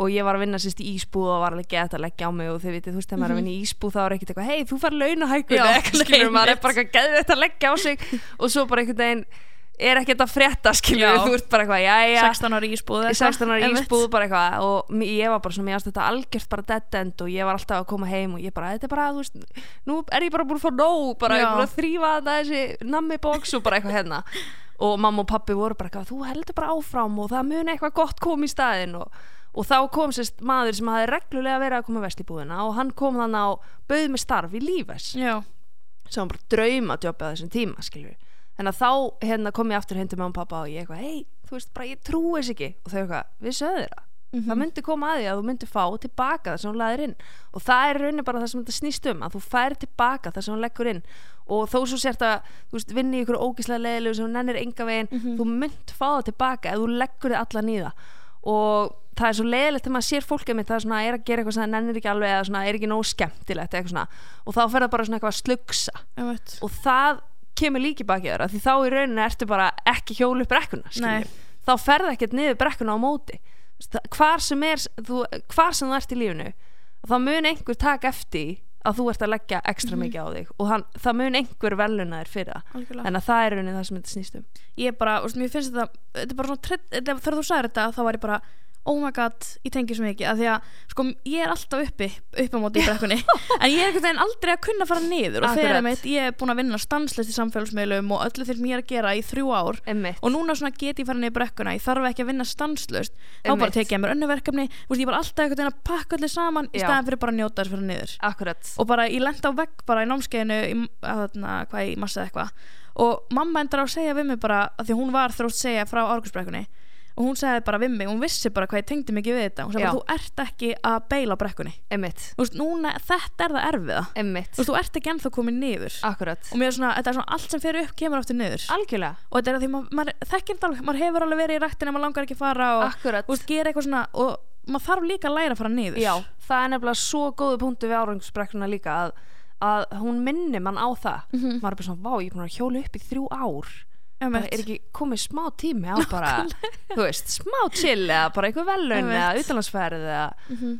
[SPEAKER 2] og ég var að vinna sérst í ísbúð og var alveg gett að leggja á mig og þið vitið þú veist þegar maður er að vinna í ísbúð þá er ekkert eitthvað hei þú fær launahækun
[SPEAKER 1] Já,
[SPEAKER 2] eða eitthvað skilur
[SPEAKER 1] nei,
[SPEAKER 2] maður er
[SPEAKER 1] mitt.
[SPEAKER 2] bara eitthvað geðið að leggja á sig [LAUGHS] og svo bara einhvern veginn er ekkert að frétta skilur
[SPEAKER 1] Já.
[SPEAKER 2] þú ert bara eitthvað jæja
[SPEAKER 1] 16 ára ísbúð
[SPEAKER 2] í 16 ára ísbúð bara eitthvað og m- ég var bara svona, mér fannst þetta algjört bara dead end og ég var alltaf að koma heim og ég bara, þetta er bara, þú veist, nú er ég bara búin að fá nóg, bara
[SPEAKER 1] Já.
[SPEAKER 2] ég er búin að þrýfa þetta þessi nammi bóks og bara eitthvað hérna og mamma og pappi voru bara eitthvað, þú heldur bara áfram og það muni eitthvað gott kom í staðinn og, og þá kom sérst maður sem hafði reglulega verið að koma vest í búðina og hann kom þannig á bauð með starf í lífes
[SPEAKER 1] já,
[SPEAKER 2] sem hann bara drauma að jobba á þessum tíma skilur þannig að þá hérna kom ég aftur heim til mamma og pappa og ég eitthvað, hei, þú veist bara ég trúi þess ekki og þau eitthvað, við sögðu þér það það myndi koma að því að þú myndi fá tilbaka það sem hún laðir inn og það er raunin bara það sem þetta snýst um að þú fær tilbaka það sem hún leggur inn og þó svo sért að þú veist, vinni í ykkur ógislega leiðilegu sem þú nennir enga veginn, þú mynd fá það tilbaka ef þú leggur þið allan í það og það er svo leiðilegt þegar maður sér fólkið mitt það er, svona, er að gera eitthvað sem það nennir ekki alveg eða svona, er ekki nóg skemmtilegt eitthvað svona og þá fer það bara svona eitthvað að slugsa
[SPEAKER 1] einmitt.
[SPEAKER 2] og það kemur líki baki þér af því þá í rauninni ertu bara ekki hjólu upp brekkuna skilurðu.
[SPEAKER 1] Nei.
[SPEAKER 2] þá ferð ekkert niður brekkuna á móti Það- hvar sem, er, þú, hvar sem þú ert í lífinu þá mun einhver taka eftir því að þú ert að leggja ekstra mikið á þig og hann, það mun einhver veluna þér fyrir það
[SPEAKER 1] Algjörlega.
[SPEAKER 2] þannig að það er í rauninni það sem þetta snýst um
[SPEAKER 1] ég bara, þú veist, mér finnst þetta þetta er bara svona, trett- þetta- þegar þú sagðir þetta þá var ég bara, oh my god, ég tengi svo mikið af því að, sko, ég er alltaf uppi upp á móti í
[SPEAKER 2] [LAUGHS]
[SPEAKER 1] brekkunni, en ég er einhvern veginn aldrei að kunna fara niður og
[SPEAKER 2] Akkurat.
[SPEAKER 1] þegar mitt, ég er búin að vinna stanslist í samfélagsmiðlum og öllu þeir sem ég er að gera í þrjú ár
[SPEAKER 2] Einmitt.
[SPEAKER 1] og núna svona get ég fara niður brekkuna, ég þarf ekki að vinna stanslust þá
[SPEAKER 2] Einmitt.
[SPEAKER 1] bara tekið ég mér önnu verkefni þú veist, ég var alltaf einhvern veginn að pakka öllu saman í
[SPEAKER 2] Já.
[SPEAKER 1] staðan fyrir bara að njóta þess að fara niður
[SPEAKER 2] akkurat
[SPEAKER 1] og bara ég lenda á vegg bara í námskeiðinu í, að, þarna, hvað í massa eða eitthvað og mamma endar á að segja við mig bara að því að hún var þrótt segja frá árgusbrekkunni og hún segði bara við mig, hún vissi bara hvað ég tengdi mikið við þetta hún sagði bara
[SPEAKER 2] Já.
[SPEAKER 1] þú ert ekki að beila á brekkunni
[SPEAKER 2] emmitt,
[SPEAKER 1] þú veist, núna, þetta er það erfiða þú
[SPEAKER 2] emmitt,
[SPEAKER 1] veist, þú ert ekki ennþá komin niður
[SPEAKER 2] akkurat
[SPEAKER 1] og mér er svona, þetta er svona allt sem fer upp kemur aftur niður
[SPEAKER 2] algjörlega,
[SPEAKER 1] og þetta er að því maður, maður þekkir þetta alveg, maður hefur alveg verið í rættin en maður langar ekki að fara og,
[SPEAKER 2] akkurat
[SPEAKER 1] og gera eitthvað svona og maður þarf líka að læra að fara niður
[SPEAKER 2] Já, það er nefnilega svo góðu punktu við árangsbrekkuna líka að, að hún minni mann á það maður er bara svona, vá, ég er búin að hjóla upp í þrjú ár
[SPEAKER 1] Mhm. Einmitt.
[SPEAKER 2] það er ekki komið smá tími á bara, þú veist, smá chill eða bara einhver velun
[SPEAKER 1] Einmitt.
[SPEAKER 2] eða utanlandsferð eða
[SPEAKER 1] Mhm.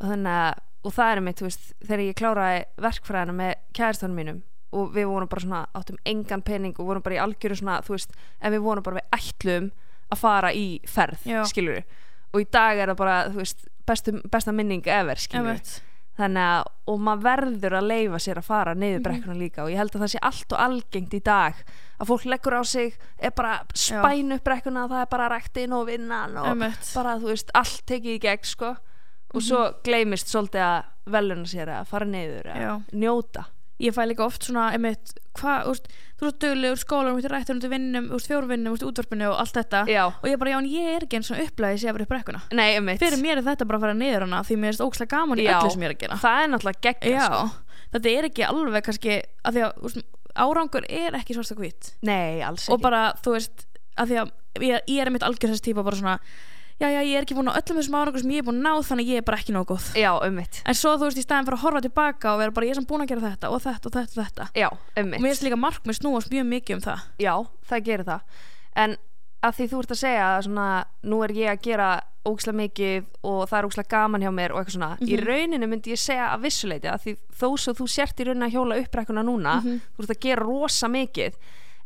[SPEAKER 2] og þannig að, og það er mitt, þú veist þegar ég kláraði verkfræðina með kæðistónum mínum og við vorum bara svona áttum engan pening og vorum bara í algjöru svona þú veist, en við vorum bara við ætlum að fara í ferð,
[SPEAKER 1] Já.
[SPEAKER 2] skilur og í dag er það bara, þú veist bestum, besta minning ever, skilur
[SPEAKER 1] Einmitt.
[SPEAKER 2] þannig að, og maður verður að leifa sér að fara niður
[SPEAKER 1] Mhm.
[SPEAKER 2] brekkuna líka og ég held að það sé allt og algengt í dag að fólk leggur á sig, er bara spæn upp brekkuna, það er bara rektin og vinnan og
[SPEAKER 1] Einmitt. Mhm.
[SPEAKER 2] bara, þú veist, allt tekið í gegn sko, og svo gleymist svolítið að veluna sér að fara niður að
[SPEAKER 1] Já.
[SPEAKER 2] njóta
[SPEAKER 1] ég fæ líka oft svona einmitt, hvað, úst, þú ert duglegur skólanum, þú ert rættur, þú ert vinnum, þú ert fjórvinnum, þú ert útvarpinu og allt þetta
[SPEAKER 2] Já.
[SPEAKER 1] og ég bara, já, en ég er ekki eins og upplæði sé að vera upp brekkuna
[SPEAKER 2] Nei, um
[SPEAKER 1] fyrir mér er þetta bara að fara niður hana því mér er þetta ókslega gaman í öllu sem ég er að gera
[SPEAKER 2] það er náttúrulega gegn
[SPEAKER 1] já,
[SPEAKER 2] sko.
[SPEAKER 1] þetta er ekki alveg kannski að því að úst, árangur er ekki svarst og hvít
[SPEAKER 2] Nei, alls
[SPEAKER 1] og
[SPEAKER 2] ekki
[SPEAKER 1] bara, þú veist, að því að ég, ég er einmitt algjör þessi típa bara svona já, já, ég er ekki búin á öllum þessum árangur sem ég er búin að ná þannig að ég er bara ekki nóg góð
[SPEAKER 2] Já, um mitt
[SPEAKER 1] en svo þú veist, í staðin fyrir að horfa tilbaka og vera bara ég er sem búin að gera þetta og þetta og þetta og þetta
[SPEAKER 2] Já, um
[SPEAKER 1] og mér finnst líka markmið snúast mjög mikið um það
[SPEAKER 2] já, það gerir það en að því þú ert að segja að svona, nú er ég að gera ógislega mikið og það er ógislega gaman hjá mér og eitthvað svona, í rauninu myndi ég segja að vissuleiti að því þó svo þú sért í rauninu að hjóla uppbrekkuna núna þú ert að gera rosa mikið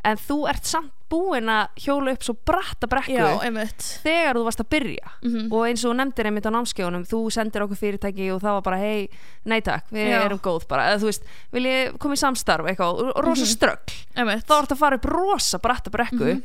[SPEAKER 2] en þú ert samt búin að hjóla upp svo bratta brekku
[SPEAKER 1] einmitt
[SPEAKER 2] þegar þú varst að byrja og eins og þú nefndir einmitt á námskeiðunum þú sendir okkur fyrirtæki og það var bara hei, nei takk, við
[SPEAKER 1] Já.
[SPEAKER 2] erum góð bara eða þú veist, vil ég koma í samstarf eitthvað og og rosa ströggl
[SPEAKER 1] einmitt,
[SPEAKER 2] þá ertu að fara upp rosa bratta brekku
[SPEAKER 1] Mhm.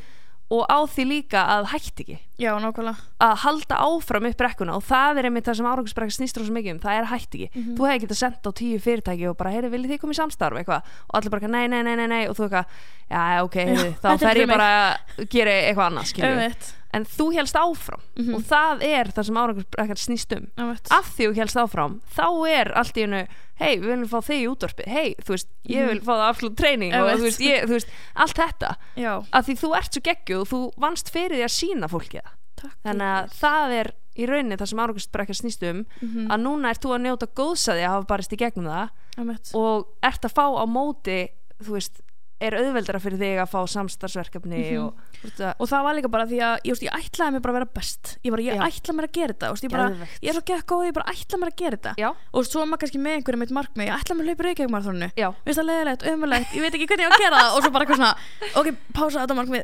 [SPEAKER 2] og á því líka að hætti ekki
[SPEAKER 1] já, nákvæmlega
[SPEAKER 2] að halda áfram upp brekkuna og það er einmitt það sem árangursbrekka snýst rosa mikið um það er hætti ekki,
[SPEAKER 1] Mhm.
[SPEAKER 2] þú hefði getað sendt á tíu fyrirtæki og bara, heyrðu, viljið þið koma í samstarf eitthvað og allir bara, eitthvað, nei, nei, nei, nei, nei og þú eitthvað, já, ok, heyrðu, þá
[SPEAKER 1] þetta er
[SPEAKER 2] fer ég
[SPEAKER 1] fyrir mig."
[SPEAKER 2] bara að gera eitthvað annað, skilju
[SPEAKER 1] einmitt, Mhm.
[SPEAKER 2] en þú helst áfram og það er það sem árangursbrekka snýst um
[SPEAKER 1] einmitt
[SPEAKER 2] af því þú helst áfram þá er allt í hennu, hei, við viljum fá þig í útvarpi hei, þú veist, ég vil fá það absolutt treyning og
[SPEAKER 1] Mhm. Einmitt.
[SPEAKER 2] þú veist, ég, þú veist, allt þetta
[SPEAKER 1] já,
[SPEAKER 2] að því þú ert svo geggjuð og þú vannst fyrir því að sína fólki það
[SPEAKER 1] takk
[SPEAKER 2] þannig að það er í rauninni það sem áraugsbrekka snýst um
[SPEAKER 1] Mhm.
[SPEAKER 2] að núna ert þú að njóta góðsaði að hafa barist í gegnum það
[SPEAKER 1] einmitt,
[SPEAKER 2] og ert að fá á móti þú veist, er auðveldara fyrir þig að fá samstarfsverkefni
[SPEAKER 1] Mhm.
[SPEAKER 2] og þú veist að
[SPEAKER 1] og það var líka bara því að ég, veist, ég ætlaði mér bara að vera best ég, bara, ég
[SPEAKER 2] Já.
[SPEAKER 1] ætlaði mér að gera þetta þú veist, ég, bara,
[SPEAKER 2] Geðveikt.
[SPEAKER 1] ég er svo gekk góð, ég bara ætlaði mér að gera þetta
[SPEAKER 2] Já.
[SPEAKER 1] og svo er maður kannski með einhverjum mitt markmið ég ætlaði mér að hlaupa reykjagmarþrónu
[SPEAKER 2] Já.
[SPEAKER 1] Mér finnst það leðilegt, umulegt, ég veit ekki hvernig ég á að gera það og svo bara eitthvað
[SPEAKER 2] [LAUGHS]
[SPEAKER 1] svona, ok, pása þetta markmið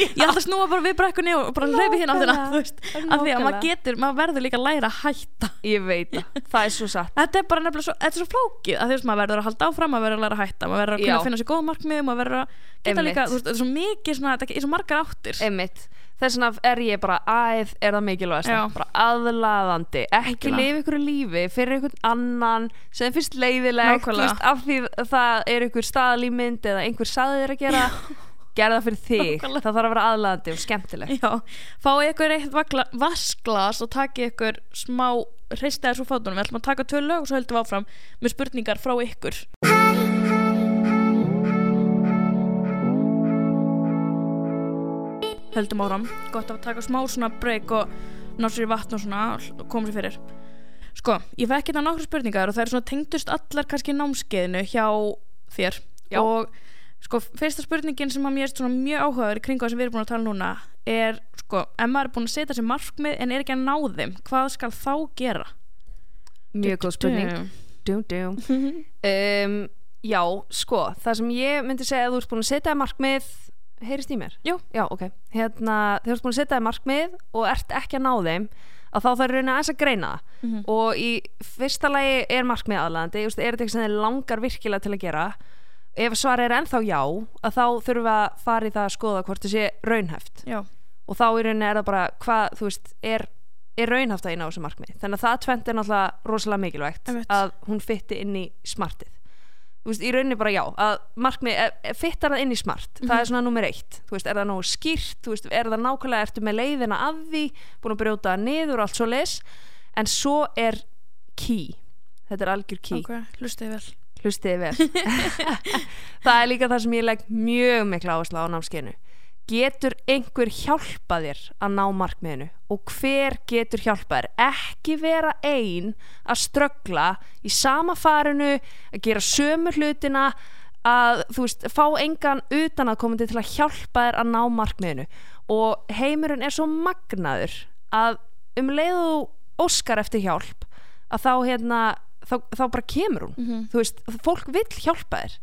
[SPEAKER 1] ég ætla að snúa bara við brekkunni og bara hlaupi hérna áttina,
[SPEAKER 2] Nákvæmlega.
[SPEAKER 1] þú veist af því að maður
[SPEAKER 2] Nákvæmlega.
[SPEAKER 1] getur, maður verður líka að læra að hætta
[SPEAKER 2] ég veit það, það er svo satt
[SPEAKER 1] þetta er bara nefnilega svo, þetta er svo flókið að þú veist, maður verður að halda áfram, maður verður að læra að hætta maður verður að kunna
[SPEAKER 2] Já.
[SPEAKER 1] að finna sér góð markmið maður verður að geta
[SPEAKER 2] Einmitt.
[SPEAKER 1] líka, þú veist, þetta er svo mikið svona, þetta er svo margar áttir
[SPEAKER 2] Einmitt. Þess vegna er ég bara æð er það mikilvægast
[SPEAKER 1] Já.
[SPEAKER 2] bara aðlaðandi, ekki
[SPEAKER 1] Algjörlega.
[SPEAKER 2] lifa ykkur lífi fyrir ykkur annan sem finnst leiðilegt þú
[SPEAKER 1] Nákvæmlega.
[SPEAKER 2] veist, af því það er ykkur staðalímynd eða einhver saði þér að gera gera það fyrir þig,
[SPEAKER 1] Nákvæmlega.
[SPEAKER 2] það þarf að vera aðlaðandi og skemmtilegt
[SPEAKER 1] já, fáið ykkur eitt vakla, vasklas og takið ykkur smá hristaði svo fátunum, við ætlum að taka tvö lög og svo höldum við áfram með spurningar frá ykkur
[SPEAKER 3] Hæ, hæ, hæ, hæ, hæ.
[SPEAKER 1] höldum áram gott að taka smá svona breyk og ná sér í vatn og svona og koma sér fyrir sko, ég fekk hérna nokkru spurningar og það er svona tengdust allar kannski námskeiðinu hjá þér
[SPEAKER 2] Já.
[SPEAKER 1] og sko, fyrsta spurningin sem að mér er svona mjög áhugaður í kringu það sem við erum búin að tala um núna er sko, ef maður er búin að setja sér markmið en er ekki að ná þeim, hvað skal þá gera?
[SPEAKER 2] Mjög góð spurning dum, dum. Um, Já, sko, það sem ég myndi segja að þú ert búin að setja þér markmið heyrist í mér?
[SPEAKER 1] Jú.
[SPEAKER 2] Já, ok hérna, Þegar þú ert búin að setja þér markmið og ert ekki að ná þeim að þá þarf raunin aðeins að greina það
[SPEAKER 1] Mhm.
[SPEAKER 2] og í fyrsta lagi er markmið aðlandi er þetta eitthvað sem þið langar virkilega til að gera ef svarið er ennþá já að þá þurfum við að fara í það að skoða hvort það sé
[SPEAKER 1] [LAUGHS]
[SPEAKER 2] raunhæft
[SPEAKER 1] Já,
[SPEAKER 2] og þá í rauninni er það bara hvað, þú veist, er, er raunhaft að eina á þessu markmið þannig að það tvent er náttúrulega rosalega mikilvægt
[SPEAKER 1] Einmitt.
[SPEAKER 2] að hún fytti inn í smartið þú veist, í rauninni bara já að markmið, e- e- fyttar það inn í smart
[SPEAKER 1] Mhm.
[SPEAKER 2] það er svona nummer eitt, þú veist, er það nógu skýrt þú veist, er það nákvæmlega, ertu með leiðina að því búin að brjóta það niður og allt svo les en svo er key þetta er algjör key
[SPEAKER 1] ok, lustiði vel
[SPEAKER 2] hlustiði vel [LAUGHS] það er líka það sem ég legg mjög mikla áherslu á námskeinu getur einhver hjálpa þér að ná markmiðinu og hver getur hjálpa þér ekki vera ein að ströggla í sama farinu að gera sömu hlutina að þú veist, fá engan utan að komandi til að hjálpa þér að ná markmiðinu og heimurinn er svo magnaður að um leiðu óskar eftir hjálp að þá hérna þá, þá bara kemur hún
[SPEAKER 1] Mhm.
[SPEAKER 2] þú veist, fólk vill hjálpa þér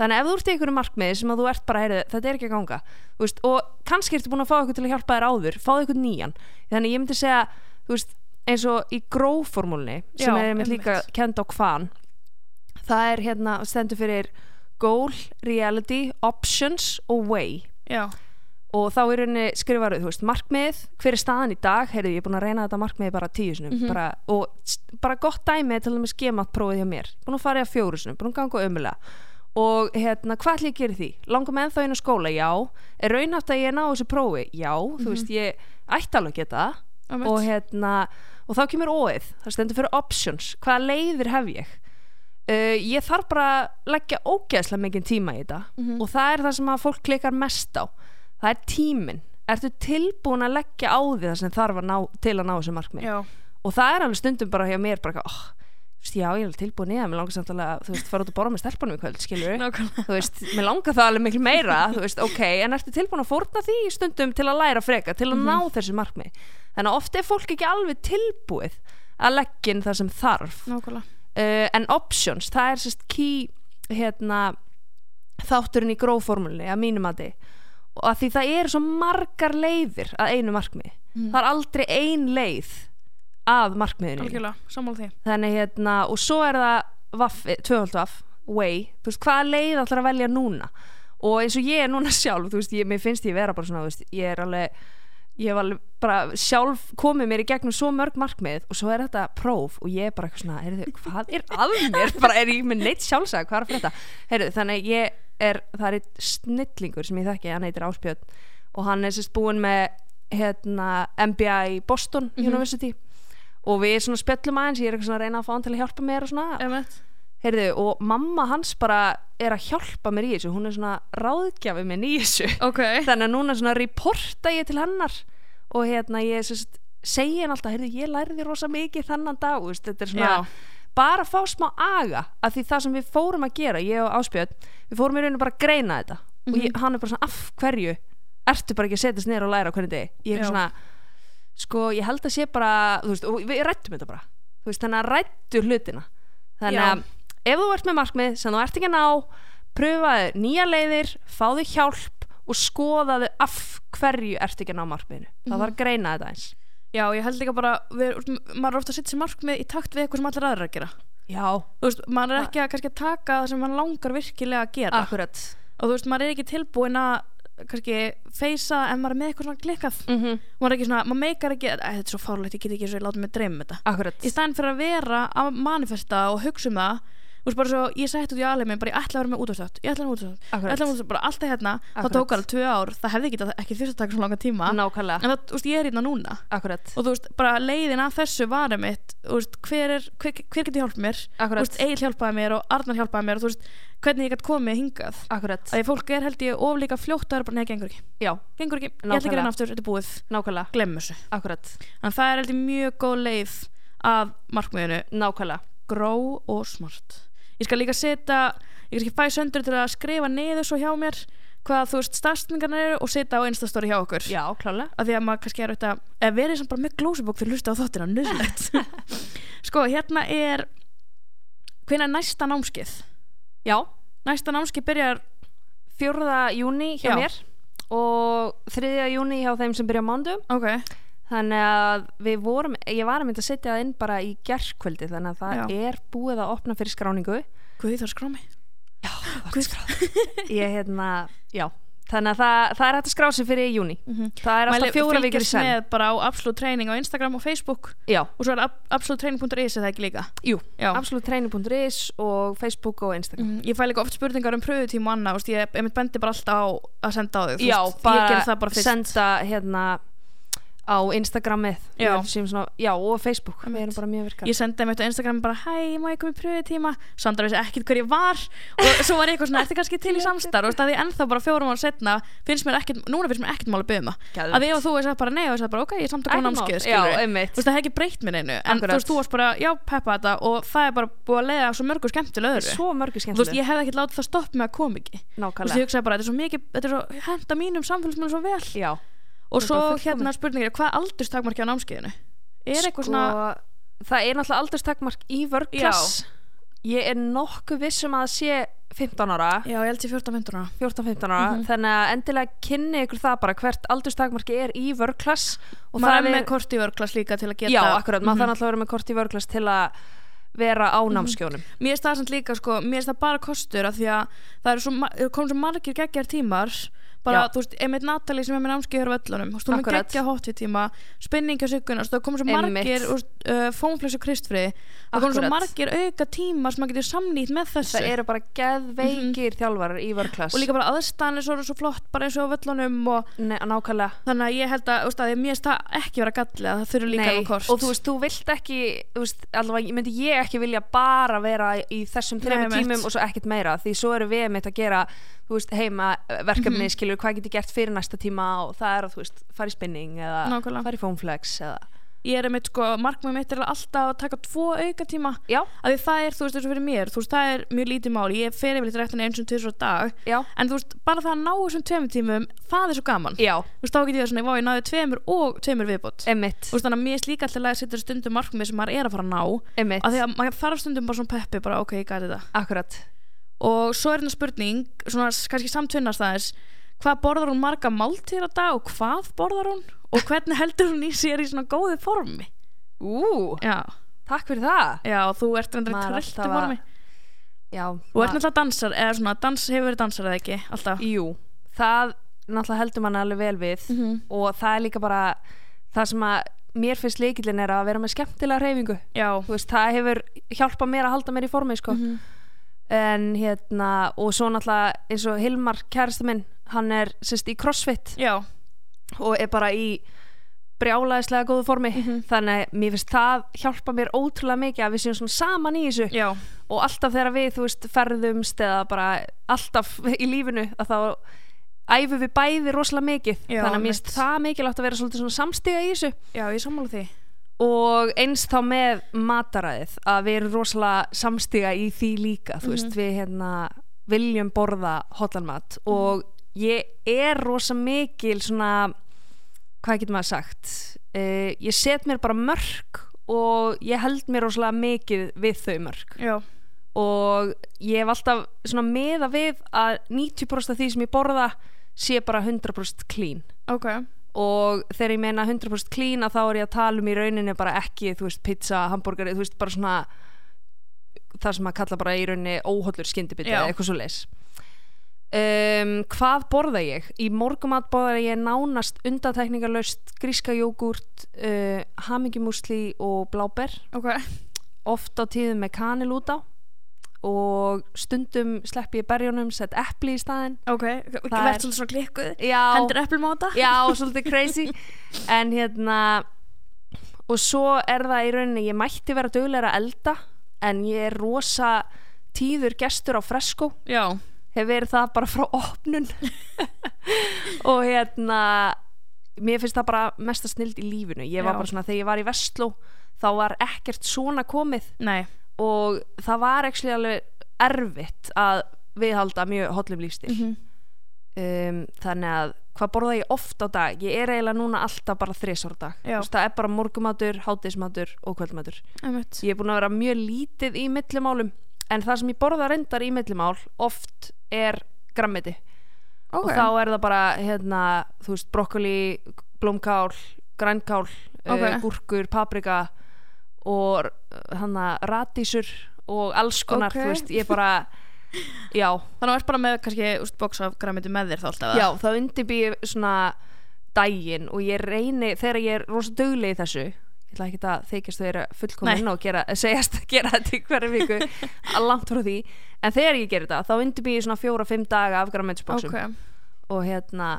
[SPEAKER 2] þannig að ef þú ert í einhverju markmiði sem að þú ert bara heyrið, þetta er ekki að ganga þú veist, og kannski ertu búin að fá eitthvað til að hjálpa þér áður fáðu eitthvað nýjan, þannig að ég myndi segja þú veist, eins og í gróformúlni sem
[SPEAKER 1] Já,
[SPEAKER 2] er einmitt
[SPEAKER 1] einmitt.
[SPEAKER 2] líka kend á hvaðan það er hérna, stendur fyrir goal, reality, options og way
[SPEAKER 1] Já,
[SPEAKER 2] og þá er henni skrifaru, þú veist, markmið hver er staðan í dag, heyrðu, ég er búin að reyna þetta markmið bara tíu sinum, bara, og s- bara gott dæmi er til dæmis gemat prófið hjá mér búin að fara í að fjóru sinum, búin að ganga ömulega og hérna, hvað ætlum ég að gera í því langar mig ennþá inn á skóla, já er raunhaft að ég ná þessu prófi, já þú veist, ég ætti alveg að geta það
[SPEAKER 1] Einmitt.
[SPEAKER 2] og hérna, og þá kemur óið það stendur fyrir options, hvaða leiðir hef ég uh, ég þarf bara að leggja ógeðslega mikið tíma í þetta
[SPEAKER 1] Mhm.
[SPEAKER 2] og það er það sem að fólk klikkar mest á það er tíminn ertu tilbúin að leggja á því það sem þarf að ná, til að ná þessu markmið
[SPEAKER 1] já,
[SPEAKER 2] og það er alveg stundum bara hjá mér bara, eitthvað, oh, þú veist, já ég er alveg tilbúin í það mér langar samtala, þú veist, fara út að borða með stelpunum í kvöld skilur
[SPEAKER 1] nákvæmlega
[SPEAKER 2] þú veist, mér langar það alveg miklu meira þú veist, ok, en ertu tilbúin að fórna því í stundum til að læra freka, til að
[SPEAKER 1] Mhm.
[SPEAKER 2] ná þessu markmi þannig að oft er fólk ekki alveg tilbúið að leggja inn það sem þarf
[SPEAKER 1] Nákvæmlega,
[SPEAKER 2] uh, en options, það er sérst key hérna þátturinn í gróformulni að mínum að og að því það eru svo margar leiðir að einu markmi það er aldrei ein leið að markmiðinu
[SPEAKER 1] algjörlega, sammála því
[SPEAKER 2] þannig hérna og svo er það vaffi, tvöhaldvaff, way þú veist, hvaða leið ætlar að velja núna og eins og ég er núna [LAUGHS] sjálf, þú veist, ég, mér finnst ég vera bara svona, þú veist, ég er alveg ég hef alveg bara sjálf komið mér í gegnum svo mörg markmið og svo er þetta próf og ég er bara eitthvað svona, heyrðu, hvað er að mér, [LAUGHS] bara er ég með neitt sjálfsag hvað er að frétta, heyrðu, þannig að ég er það er einn snillingur sem ég þekki hann heitir Áspjörn og hann er sérst búin með hérna, MBA í Boston University og við svona spjöllum aðeins, ég er eitthvað svona að reyna að fá hann til að hjálpa mér og svona,
[SPEAKER 1] Emmett
[SPEAKER 2] heyrðu, og mamma hans bara er að hjálpa mér í þessu hún er svona ráðgjafi minn í
[SPEAKER 1] [LAUGHS]
[SPEAKER 2] þessu
[SPEAKER 1] Ok,
[SPEAKER 2] þannig að núna svona reporta ég til hennar og hérna ég sérst, segi henn alltaf, heyrðu, ég lærði rosa mikið þennan dag, þú veist, þetta er svona
[SPEAKER 1] Já.
[SPEAKER 2] bara fá smá aga, af því það sem við fórum að gera, ég og Áspjöld við fórum í rauninu bara að greina þetta og
[SPEAKER 1] Mhm.
[SPEAKER 2] ég, hann er bara svona, af hverju ertu bara ekki að setjast neyra og læra á hvernig degi ég
[SPEAKER 1] Já.
[SPEAKER 2] er svona, sko, ég held að sé bara þú veist, og við rættum þetta bara þú veist, þannig að rættu hlutina þannig
[SPEAKER 1] Já.
[SPEAKER 2] að ef þú ert með markmið sem þú ert ekki að ná pröfaðu nýja leiðir, fáðu hjálp og skoðaðu af hverju ert ekki að ná markmiðinu það
[SPEAKER 1] Mhm.
[SPEAKER 2] þarf að greina þetta eins
[SPEAKER 1] já, ég held líka bara við, maður er ofta að setja sér markmið í takt við eitthvað sem allir aðra að gera
[SPEAKER 2] já,
[SPEAKER 1] Þú veist, maður
[SPEAKER 2] Ah.
[SPEAKER 1] er ekki að kannski að taka það sem maður langar virkilega að gera
[SPEAKER 2] akkurat
[SPEAKER 1] og þú veist, maður er ekki tilbúin að kannski feysa en maður er með eitthvað svona klikkað
[SPEAKER 2] mm -hmm.
[SPEAKER 1] maður er ekki svona, maður meikar ekki, að þetta er svo
[SPEAKER 2] Ah.
[SPEAKER 1] fárlegt ég get ekki eins og ég láta mig dreyma um þetta
[SPEAKER 2] akkurat,
[SPEAKER 1] í staðin fyrir að vera að manifesta og hugsa um það Þú veist bara svo, ég sætti út í aðlega minn bara ég ætla að vera með útastátt, ég ætla að vera með útastátt ég ætla
[SPEAKER 2] Akkurat.
[SPEAKER 1] að vera með útastátt, bara alltaf hérna
[SPEAKER 2] Akkurat.
[SPEAKER 1] það tók alveg tvö ár, það hefði ekki, ekki þurft að taka svona langa tíma en
[SPEAKER 2] Nákvæmlega,
[SPEAKER 1] það, þú veist, ég er hérna núna
[SPEAKER 2] akkurat,
[SPEAKER 1] og þú veist, bara leiðin að þessu varum mitt þú veist, hver, er, hver, hver getur hjálpað mér þú
[SPEAKER 2] akkurat,
[SPEAKER 1] veist, Egil hjálpaði mér og Arnar hjálpaði mér og þú veist, hvernig ég gætt komið hingað
[SPEAKER 2] akkurat,
[SPEAKER 1] að því fólk er held ég of líka fljótt að vera bara, nei, gengur ekki,
[SPEAKER 2] já,
[SPEAKER 1] gengur ekki ég ætla ekki að reyna aftur, þetta er búið,
[SPEAKER 2] nákvæmlega,
[SPEAKER 1] glemm þessu
[SPEAKER 2] akkurat,
[SPEAKER 1] en það er held ég mjög góð leið að markmiðinu,
[SPEAKER 2] nákvæmlega,
[SPEAKER 1] gró og smart ég skal líka setja, ég skal ekki fæ söndur til að skrifa niður svo hjá mér hvað þú veist starfsningarnar eru og setja á einstastóri hjá okkur
[SPEAKER 2] já, klálega,
[SPEAKER 1] að því að maður kannski er auðvitað eða verið samt bara með glósubók fyrir að hlusta á þáttina nöðsynlegt sko hérna er hvenær er næsta námskið
[SPEAKER 2] já,
[SPEAKER 1] næsta námskið byrjar
[SPEAKER 2] 4. júni hjá
[SPEAKER 1] Já.
[SPEAKER 2] mér og 3. júni hjá þeim sem byrja á mándum
[SPEAKER 1] ok,
[SPEAKER 2] þannig að við vorum ég var að mynda að setja það inn bara í gerkvöldi þannig að það er búið að opna fyrir skráningu
[SPEAKER 1] hvað því þarf skrámi
[SPEAKER 2] Guð [LAUGHS] ég hérna, já þannig að það, það er hægt að skrá sig fyrir í júni það er alltaf fjóra vikir í senn
[SPEAKER 1] með bara á Absolute Training á Instagram og Facebook
[SPEAKER 2] já,
[SPEAKER 1] og svo er ab- absolutetraining.is er það ekki líka
[SPEAKER 2] jú,
[SPEAKER 1] já
[SPEAKER 2] absoluttreinu.is og Facebook og Instagram
[SPEAKER 1] Mhm, Ég fæ líka oft spurningar um pröfutíma og annað, þú veist, ég, ég mynd bendi bara alltaf á að senda á þau, þú
[SPEAKER 2] Mm, já,
[SPEAKER 1] veist, ég
[SPEAKER 2] bara,
[SPEAKER 1] ger það bara fyrst
[SPEAKER 2] senda hérna á Instagramið Ég
[SPEAKER 1] Já.
[SPEAKER 2] held sem svona, já og Facebook við erum bara mjög virkar
[SPEAKER 1] ég sendi mér þetta á Instagram bara hæ, má ég koma í pröfutíma Sandra vissi ekkert hver ég var og svo var ég eitthvað svona, ertu kannski til í samstarf og það ég ennþá bara fjórum ára setna finnst mér ekkert, núna finnst mér ekkert mál að byggja maður
[SPEAKER 2] Geðveikt.
[SPEAKER 1] að því að þú veist bara nei og ég sagði bara ok, ég er samt að koma
[SPEAKER 2] Ekkert mál.
[SPEAKER 1] námskeið
[SPEAKER 2] Já,
[SPEAKER 1] skilurðu. þú
[SPEAKER 2] einmitt.
[SPEAKER 1] veist það hefði ekki breytt mér einu en
[SPEAKER 2] Akkurat.
[SPEAKER 1] þú veist, þú varst bara, já, peppa þetta og það er bara búið að leiða svo mörgu skemmtilega öðru
[SPEAKER 2] svo
[SPEAKER 1] þú
[SPEAKER 2] mörgu
[SPEAKER 1] veist,
[SPEAKER 2] skemmtileg
[SPEAKER 1] ég hefði ekkert látið það stopp með að koma ekki þú veist, ég
[SPEAKER 2] nákvæmlega,
[SPEAKER 1] hugsaði bara, þetta er svo mikið, þetta er svo henda mínum samfélagsmiðlum svo vel
[SPEAKER 2] já
[SPEAKER 1] og svo
[SPEAKER 2] bara fullkomin.
[SPEAKER 1] hérna spurningir, hvað aldurstakmarki á námskeiðinu? Er eitthvað svona,
[SPEAKER 2] sko, það er náttúrulega aldurstakmark í vörgklass ég er nokkuð vissum að það sé 15 ára,
[SPEAKER 1] já, Mhm. ég held ég 14-15 ára
[SPEAKER 2] 14-15 ára þannig að endilega kynni ykkur það bara hvert aldurstakmarki er í vörgklass og
[SPEAKER 1] maður er
[SPEAKER 2] það
[SPEAKER 1] með kort Mhm. í vörglas líka til að geta
[SPEAKER 2] já, akkurat, maður þarf náttúrulega að vera með kort í vörgklass til að vera á
[SPEAKER 1] Mhm.
[SPEAKER 2] námskjónum
[SPEAKER 1] mér er það samt líka sko, mér er það bara kostur af því að það eru svo, ma- eru komin svo margir geggjar tímar bara,
[SPEAKER 2] Já.
[SPEAKER 1] þú veist, einmitt Natalie sem er með námskeið hér á völlunum, þú veist, hún er
[SPEAKER 2] Akkurat.
[SPEAKER 1] geggja hotfit tíma spinningi á sykkunar, það komið svo
[SPEAKER 2] Einmitt.
[SPEAKER 1] margir þú veist, uh, fónflössu kristfriði það komið svo
[SPEAKER 2] Akkurat.
[SPEAKER 1] margir auka tíma sem maður getur samnýtt með þessu
[SPEAKER 2] það eru bara geðveikir þjálfarar í vörgklass
[SPEAKER 1] Mhm. og líka bara aðstæðan er svo, svo flott bara eins og á völlunum og
[SPEAKER 2] Nei, nákvæmlega
[SPEAKER 1] þannig að ég held að, þú veist, að ég- mér er það ekki vera gallið að það þurfi líka
[SPEAKER 2] Nei,
[SPEAKER 1] alveg kort
[SPEAKER 2] og þú veist, þú vilt ekki þú veist, allavega, ég myndi ég ekki vilja bara vera í þessum
[SPEAKER 1] Nei,
[SPEAKER 2] þreymur
[SPEAKER 1] einmitt.
[SPEAKER 2] tímum og svo ekkert meira, því svo eru við mitt að gera, þú veist, heima eh, verkefni,
[SPEAKER 1] Mhm.
[SPEAKER 2] mm skilur, hvað getur gert fyrir næsta tíma og það er að, þú veist, fara í spinning eða
[SPEAKER 1] Nákvæmlega.
[SPEAKER 2] fara í foamflex eða,
[SPEAKER 1] ég er einmitt sko, markmið mitt er alltaf að taka tvo auka tíma
[SPEAKER 2] já,
[SPEAKER 1] að því það er, þú veist, eins og fyrir mér þú veist, það er mjög lítið mál, ég fer yfir litur eftir eins og tvisur á dag,
[SPEAKER 2] já,
[SPEAKER 1] en þú veist, bara það að ná þessum tveimur tímum, það er svo gaman
[SPEAKER 2] já
[SPEAKER 1] þú veist, þá get ég það svona, vá, ég náði tveimur og tveimur viðbót
[SPEAKER 2] emmitt,
[SPEAKER 1] þú veist, þannig að mér er líka alltaf að setja stundum markmið sem maður er að fara að ná
[SPEAKER 2] emmitt,
[SPEAKER 1] að því að maður þarf stundum bara svona peppi, bara ok, ég gæti þetta
[SPEAKER 2] akkurat
[SPEAKER 1] og svo er þetta spurning, svona s- kannski samtvinnast aðeins hvað borðar hún marga máltíðir á dag og hvað borðar hún og hvernig heldur hún í sér í svona góðu formi
[SPEAKER 2] Ú,
[SPEAKER 1] já,
[SPEAKER 2] takk fyrir það
[SPEAKER 1] já, þú ert reyndar í
[SPEAKER 2] Maður er
[SPEAKER 1] trilltu
[SPEAKER 2] alltaf að-
[SPEAKER 1] formi
[SPEAKER 2] Já,
[SPEAKER 1] Þú
[SPEAKER 2] ma-
[SPEAKER 1] ert náttúrulega dansar, eða svona, dans hefur verið dansar eða ekki, alltaf.
[SPEAKER 2] Jú, það náttúrulega heldur mann alveg vel við
[SPEAKER 1] Mhm.
[SPEAKER 2] og það er líka bara það sem að mér finnst leikillin er að vera með skemmtilega reyfingu
[SPEAKER 1] Já,
[SPEAKER 2] þú veist, það hefur hjálpað mér að halda mér í formi sko.
[SPEAKER 1] Mhm.
[SPEAKER 2] en hérna og svo náttúrulega eins og Hilmar kærasta minn, hann er sérst í crossfit
[SPEAKER 1] já,
[SPEAKER 2] og er bara í brjálaðislega góðu formi
[SPEAKER 1] Mhm.
[SPEAKER 2] þannig að mér finnst það hjálpa mér ótrúlega mikið að við séum svona saman í þessu
[SPEAKER 1] já,
[SPEAKER 2] og alltaf þegar við, þú veist, ferðumst eða bara alltaf í lífinu að þá æfum við bæði rosalega mikið,
[SPEAKER 1] Já,
[SPEAKER 2] þannig að mér
[SPEAKER 1] einmitt.
[SPEAKER 2] finnst það mikilvægt að vera svolítið svona samstiga í þessu
[SPEAKER 1] já, ég sammála því.
[SPEAKER 2] og eins þá með mataræðið að við erum rosalega samstiga í því líka þú veist, við hérna viljum borða hotlanmat og ég er rosa mikil svona, hvað getur maður sagt uh, ég set mér bara mörg og ég held mér rosalega mikið við þau mörg
[SPEAKER 1] Já,
[SPEAKER 2] og ég hef alltaf svona meða við að 90% af því sem ég borða sé bara 100% clean
[SPEAKER 1] ok,
[SPEAKER 2] og þegar ég meina 100% clean að þá er ég að tala um í rauninni bara ekki, þú veist, pizza, hamburgari þú veist, bara svona það sem maður kalla bara í rauninni óhollur skyndibiti
[SPEAKER 1] Já.
[SPEAKER 2] eða eitthvað svo leis um, hvað borða ég? í morgumat borða ég nánast undatekningarlaust gríska jógúrt uh, hamingjumúsli og bláber
[SPEAKER 1] ok,
[SPEAKER 2] oft á tíðum með kanil út á og stundum slepp ég berjónum, sett epli í staðinn
[SPEAKER 1] ok,
[SPEAKER 2] Það er-
[SPEAKER 1] verð svolítið svona klikkuð
[SPEAKER 2] Já,
[SPEAKER 1] hendur eplum á þetta
[SPEAKER 2] já, svolítið crazy en hérna og svo er það í rauninni ég mætti vera dugleira að elda en ég er rosa tíður gestur á fresko
[SPEAKER 1] já,
[SPEAKER 2] hef verið það bara frá opnun og hérna mér finnst það bara mesta snild í lífinu ég var
[SPEAKER 1] Já.
[SPEAKER 2] bara svona, þegar ég var í Vestló þá var ekkert svona komið
[SPEAKER 1] nei,
[SPEAKER 2] og það var ekki alveg erfitt að viðhalda mjög hollum lífstil
[SPEAKER 1] Mhm.
[SPEAKER 2] um, þannig að hvað borða ég oft á dag ég er eiginlega núna alltaf bara þrisar á dag
[SPEAKER 1] Já.
[SPEAKER 2] Þú veist, það er bara morgumatur, hátismatur og kvöldmatur
[SPEAKER 1] einmitt
[SPEAKER 2] ég er búin að vera mjög lítið í millimálum en það sem ég borða reyndar í millimál oft er grammiti
[SPEAKER 1] ok,
[SPEAKER 2] og þá er það bara hérna, þú veist, brokkoli, blómkál grænkál,
[SPEAKER 1] Ok.
[SPEAKER 2] okay. gúrkur paprika og hann að radísur og alls konar,
[SPEAKER 1] Ok.
[SPEAKER 2] þú veist,
[SPEAKER 1] [LAUGHS]
[SPEAKER 2] ég bara já,
[SPEAKER 1] þannig að verð bara með kannski úst, box af græmiti með þér þá alltaf eða?
[SPEAKER 2] Já, þá undirbýr svona daginn og ég reyni þegar ég er rosa dugleg í þessu ég ætla ekki að þykjast þau eru fullkomin og gera, segjast [LAUGHS] að gera þetta í hverju viku að langt frá því en þegar ég gerir þetta þá undirbýr ég svona fjóra-fimm daga af grammetisbóksum
[SPEAKER 1] ok,
[SPEAKER 2] og hérna